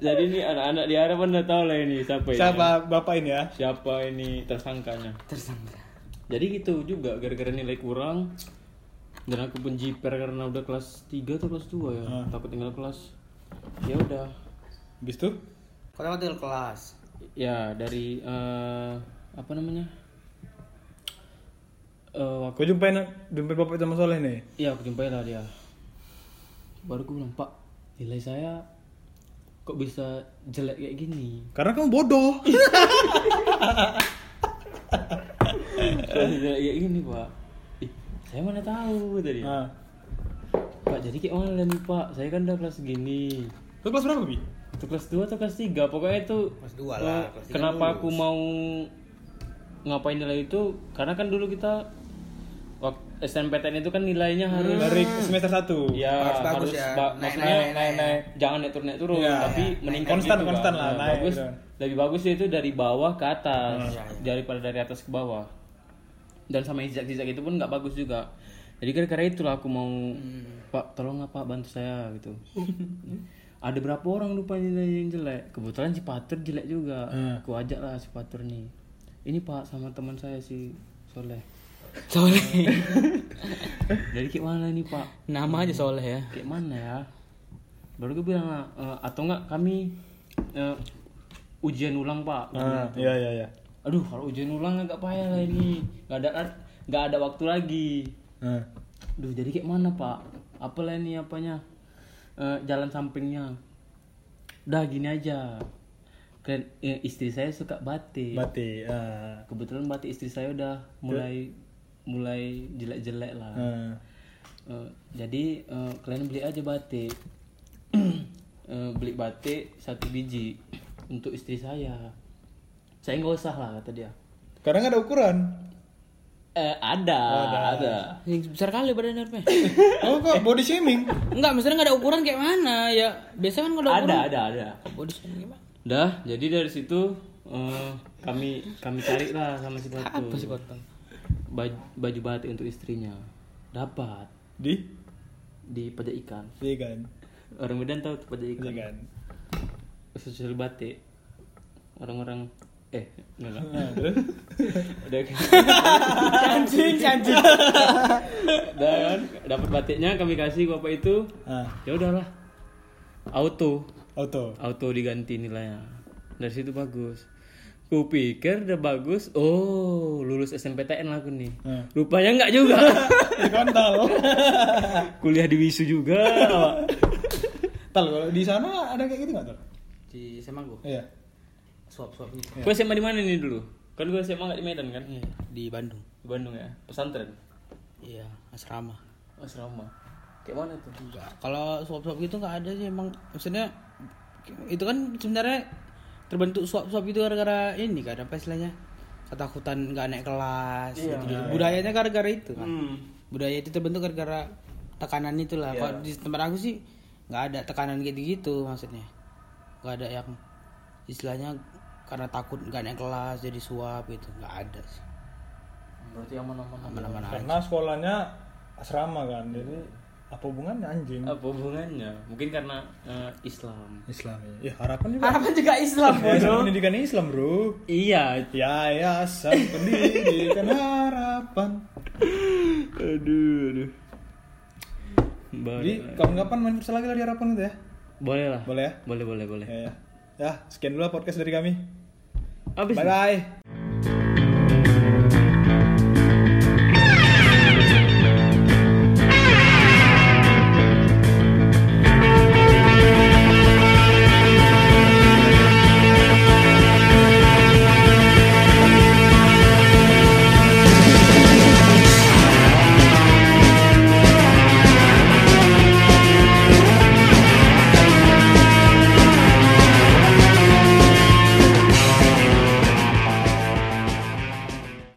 [SPEAKER 4] Jadi ini anak-anak di Arab anda tahu lah ini siapa ini.
[SPEAKER 3] Siapa bapak ini ya?
[SPEAKER 4] Siapa ini tersangkanya.
[SPEAKER 2] tersangka
[SPEAKER 4] Jadi gitu juga gara-gara nilai kurang dan aku pun jiper karena udah kelas 3 atau kelas 2 ya.
[SPEAKER 3] Ah.
[SPEAKER 4] Takut tinggal kelas. Ya udah.
[SPEAKER 3] Habis itu?
[SPEAKER 2] kalau hotel kelas
[SPEAKER 4] Ya dari eh, apa namanya? Eh,
[SPEAKER 3] Aku jumpain jumpain bapak sama soleh nih.
[SPEAKER 4] Iya, aku jumpai lah dia. Baru gue bilang, Pak, nilai saya kok bisa jelek kayak gini?
[SPEAKER 3] Karena kamu bodoh.
[SPEAKER 4] Kok bisa jelek kayak gini, Iya, Pak? Ih, saya mana tahu tadi.
[SPEAKER 2] Ah.
[SPEAKER 3] Nah.
[SPEAKER 4] Pak, jadi kayak mana nih, Pak? Saya kan udah kelas gini.
[SPEAKER 3] Lu kelas berapa, Bi?
[SPEAKER 4] Itu kelas 2 atau kelas 3? Pokoknya itu eh,
[SPEAKER 2] kelas dua lah kelas tiga
[SPEAKER 4] kenapa
[SPEAKER 2] lulus.
[SPEAKER 4] aku mau ngapain nilai itu? Karena kan dulu kita waktu SNPTN itu kan nilainya harus
[SPEAKER 3] Dari semester 1.
[SPEAKER 4] Ya,
[SPEAKER 2] Harus
[SPEAKER 4] harus,
[SPEAKER 2] bagus ya.
[SPEAKER 4] ba-
[SPEAKER 2] Naik,
[SPEAKER 4] maksudnya
[SPEAKER 2] naik, naik, naik.
[SPEAKER 4] jangan naik turun naik turun,
[SPEAKER 3] Iya,
[SPEAKER 4] tapi
[SPEAKER 2] iya.
[SPEAKER 4] meningkat
[SPEAKER 3] Konstan,
[SPEAKER 4] gitu
[SPEAKER 3] konstan
[SPEAKER 4] kan.
[SPEAKER 3] lah,
[SPEAKER 4] Nah,
[SPEAKER 3] naik
[SPEAKER 4] bagus,
[SPEAKER 3] gitu.
[SPEAKER 4] lebih bagus itu dari bawah ke atas
[SPEAKER 2] Hmm. Iya,
[SPEAKER 4] daripada dari atas ke bawah. Dan sama jejak-jejak itu pun nggak bagus juga. Jadi gara-gara itulah aku mau
[SPEAKER 2] Hmm.
[SPEAKER 4] Pak tolong apa bantu saya gitu. Ada berapa orang lupa nilai yang jelek. Kebetulan si Patur jelek juga.
[SPEAKER 2] Hmm.
[SPEAKER 4] Aku ajak lah si Patur nih. Ini Pak sama teman saya si Soleh.
[SPEAKER 2] soleh Eh?
[SPEAKER 4] Jadi kayak mana nih Pak?
[SPEAKER 2] nama aja soleh ya
[SPEAKER 4] kayak mana ya baru gue bilang lah "Eh, atau enggak kami eh, ujian ulang pak
[SPEAKER 3] Ah, iya iya iya.
[SPEAKER 4] aduh kalau ujian ulang agak payah lah ini nggak ada nggak ada waktu lagi
[SPEAKER 3] Nah.
[SPEAKER 4] Duh jadi kayak mana pak? Apalah ini apanya? Eh, jalan sampingnya. Udah gini aja. Kalian, eh, istri saya suka batik.
[SPEAKER 3] Mati. Ah.
[SPEAKER 4] Kebetulan batik istri saya udah mulai mulai jelek-jelek lah.
[SPEAKER 3] Ah.
[SPEAKER 4] Eh, jadi eh, kalian beli aja batik. Eh, beli batik satu biji untuk istri saya. Saya nggak usah lah kata dia.
[SPEAKER 3] Karena nggak ada ukuran.
[SPEAKER 4] Eh ada, ada.
[SPEAKER 2] yang besar kali badannya Arpe.
[SPEAKER 3] Oh kok body shaming?
[SPEAKER 2] enggak maksudnya nggak ada ukuran kayak mana ya biasa kan kalau ada
[SPEAKER 4] Ada, ada, ada.
[SPEAKER 2] ukuran body shaming gimana
[SPEAKER 4] Dah, jadi dari situ eh, kami kami cari lah sama si Batu.
[SPEAKER 2] apa sih kotong
[SPEAKER 4] Baju, baju batik untuk istrinya. Dapat
[SPEAKER 3] Di?
[SPEAKER 4] di pajak ikan.
[SPEAKER 3] Iya kan.
[SPEAKER 4] Orang Medan tahu tuh pajak
[SPEAKER 3] Iya
[SPEAKER 4] ikan.
[SPEAKER 3] kan.
[SPEAKER 4] Sosial batik. Orang-orang eh enggak.
[SPEAKER 3] Nah, terus?
[SPEAKER 4] Udah
[SPEAKER 2] anjing anjing
[SPEAKER 4] dan dapat kan? batiknya kami kasih ke bapak itu.
[SPEAKER 3] Ah,
[SPEAKER 4] Ya udahlah. Auto.
[SPEAKER 3] auto.
[SPEAKER 4] auto diganti nilainya dari situ bagus kupikir udah bagus oh lulus SNPTN lah aku nih
[SPEAKER 3] Hmm.
[SPEAKER 4] rupanya nggak juga
[SPEAKER 3] Di kontol.
[SPEAKER 4] kuliah di Wisu juga
[SPEAKER 3] Tal kalau di sana ada kayak gitu nggak tal?
[SPEAKER 2] di SMA gue
[SPEAKER 3] Iya.
[SPEAKER 2] suap suap gitu
[SPEAKER 4] gue SMA di mana nih dulu kan gue SMA nggak di Medan kan di
[SPEAKER 2] Iya, di Bandung
[SPEAKER 4] Bandung ya pesantren
[SPEAKER 2] iya asrama
[SPEAKER 4] asrama kayak mana tuh
[SPEAKER 2] Enggak. Kalau suap-suap gitu nggak ada sih emang maksudnya itu kan sebenarnya terbentuk suap-suap itu gara-gara ini kan apa istilahnya ketakutan nggak naik kelas gitu-gitu. budayanya gara-gara itu kan budaya itu terbentuk gara-gara tekanan itulah kalau di tempat aku sih nggak ada tekanan gitu-gitu maksudnya nggak ada yang istilahnya karena takut nggak naik kelas jadi suap gitu nggak ada sih
[SPEAKER 4] berarti aman-aman
[SPEAKER 2] aman-aman aja
[SPEAKER 3] Karena sekolahnya asrama kan, jadi apa hubungannya anjing?
[SPEAKER 4] apa hubungannya mungkin karena eh, Islam
[SPEAKER 3] Islam ya. Ya harapan juga.
[SPEAKER 2] harapan juga Islam
[SPEAKER 3] Ya, pendidikan Islam bro.
[SPEAKER 4] iya
[SPEAKER 3] Ya yayasan pendidikan harapan.
[SPEAKER 4] aduh aduh boleh
[SPEAKER 3] Jadi kapan-kapan main futsal lagi lah di harapan gitu ya.
[SPEAKER 4] boleh lah
[SPEAKER 3] Boleh ya?
[SPEAKER 4] boleh boleh boleh
[SPEAKER 3] Ya, ya. ya sekian dulu lah podcast dari kami.
[SPEAKER 4] abis
[SPEAKER 3] Bye bye.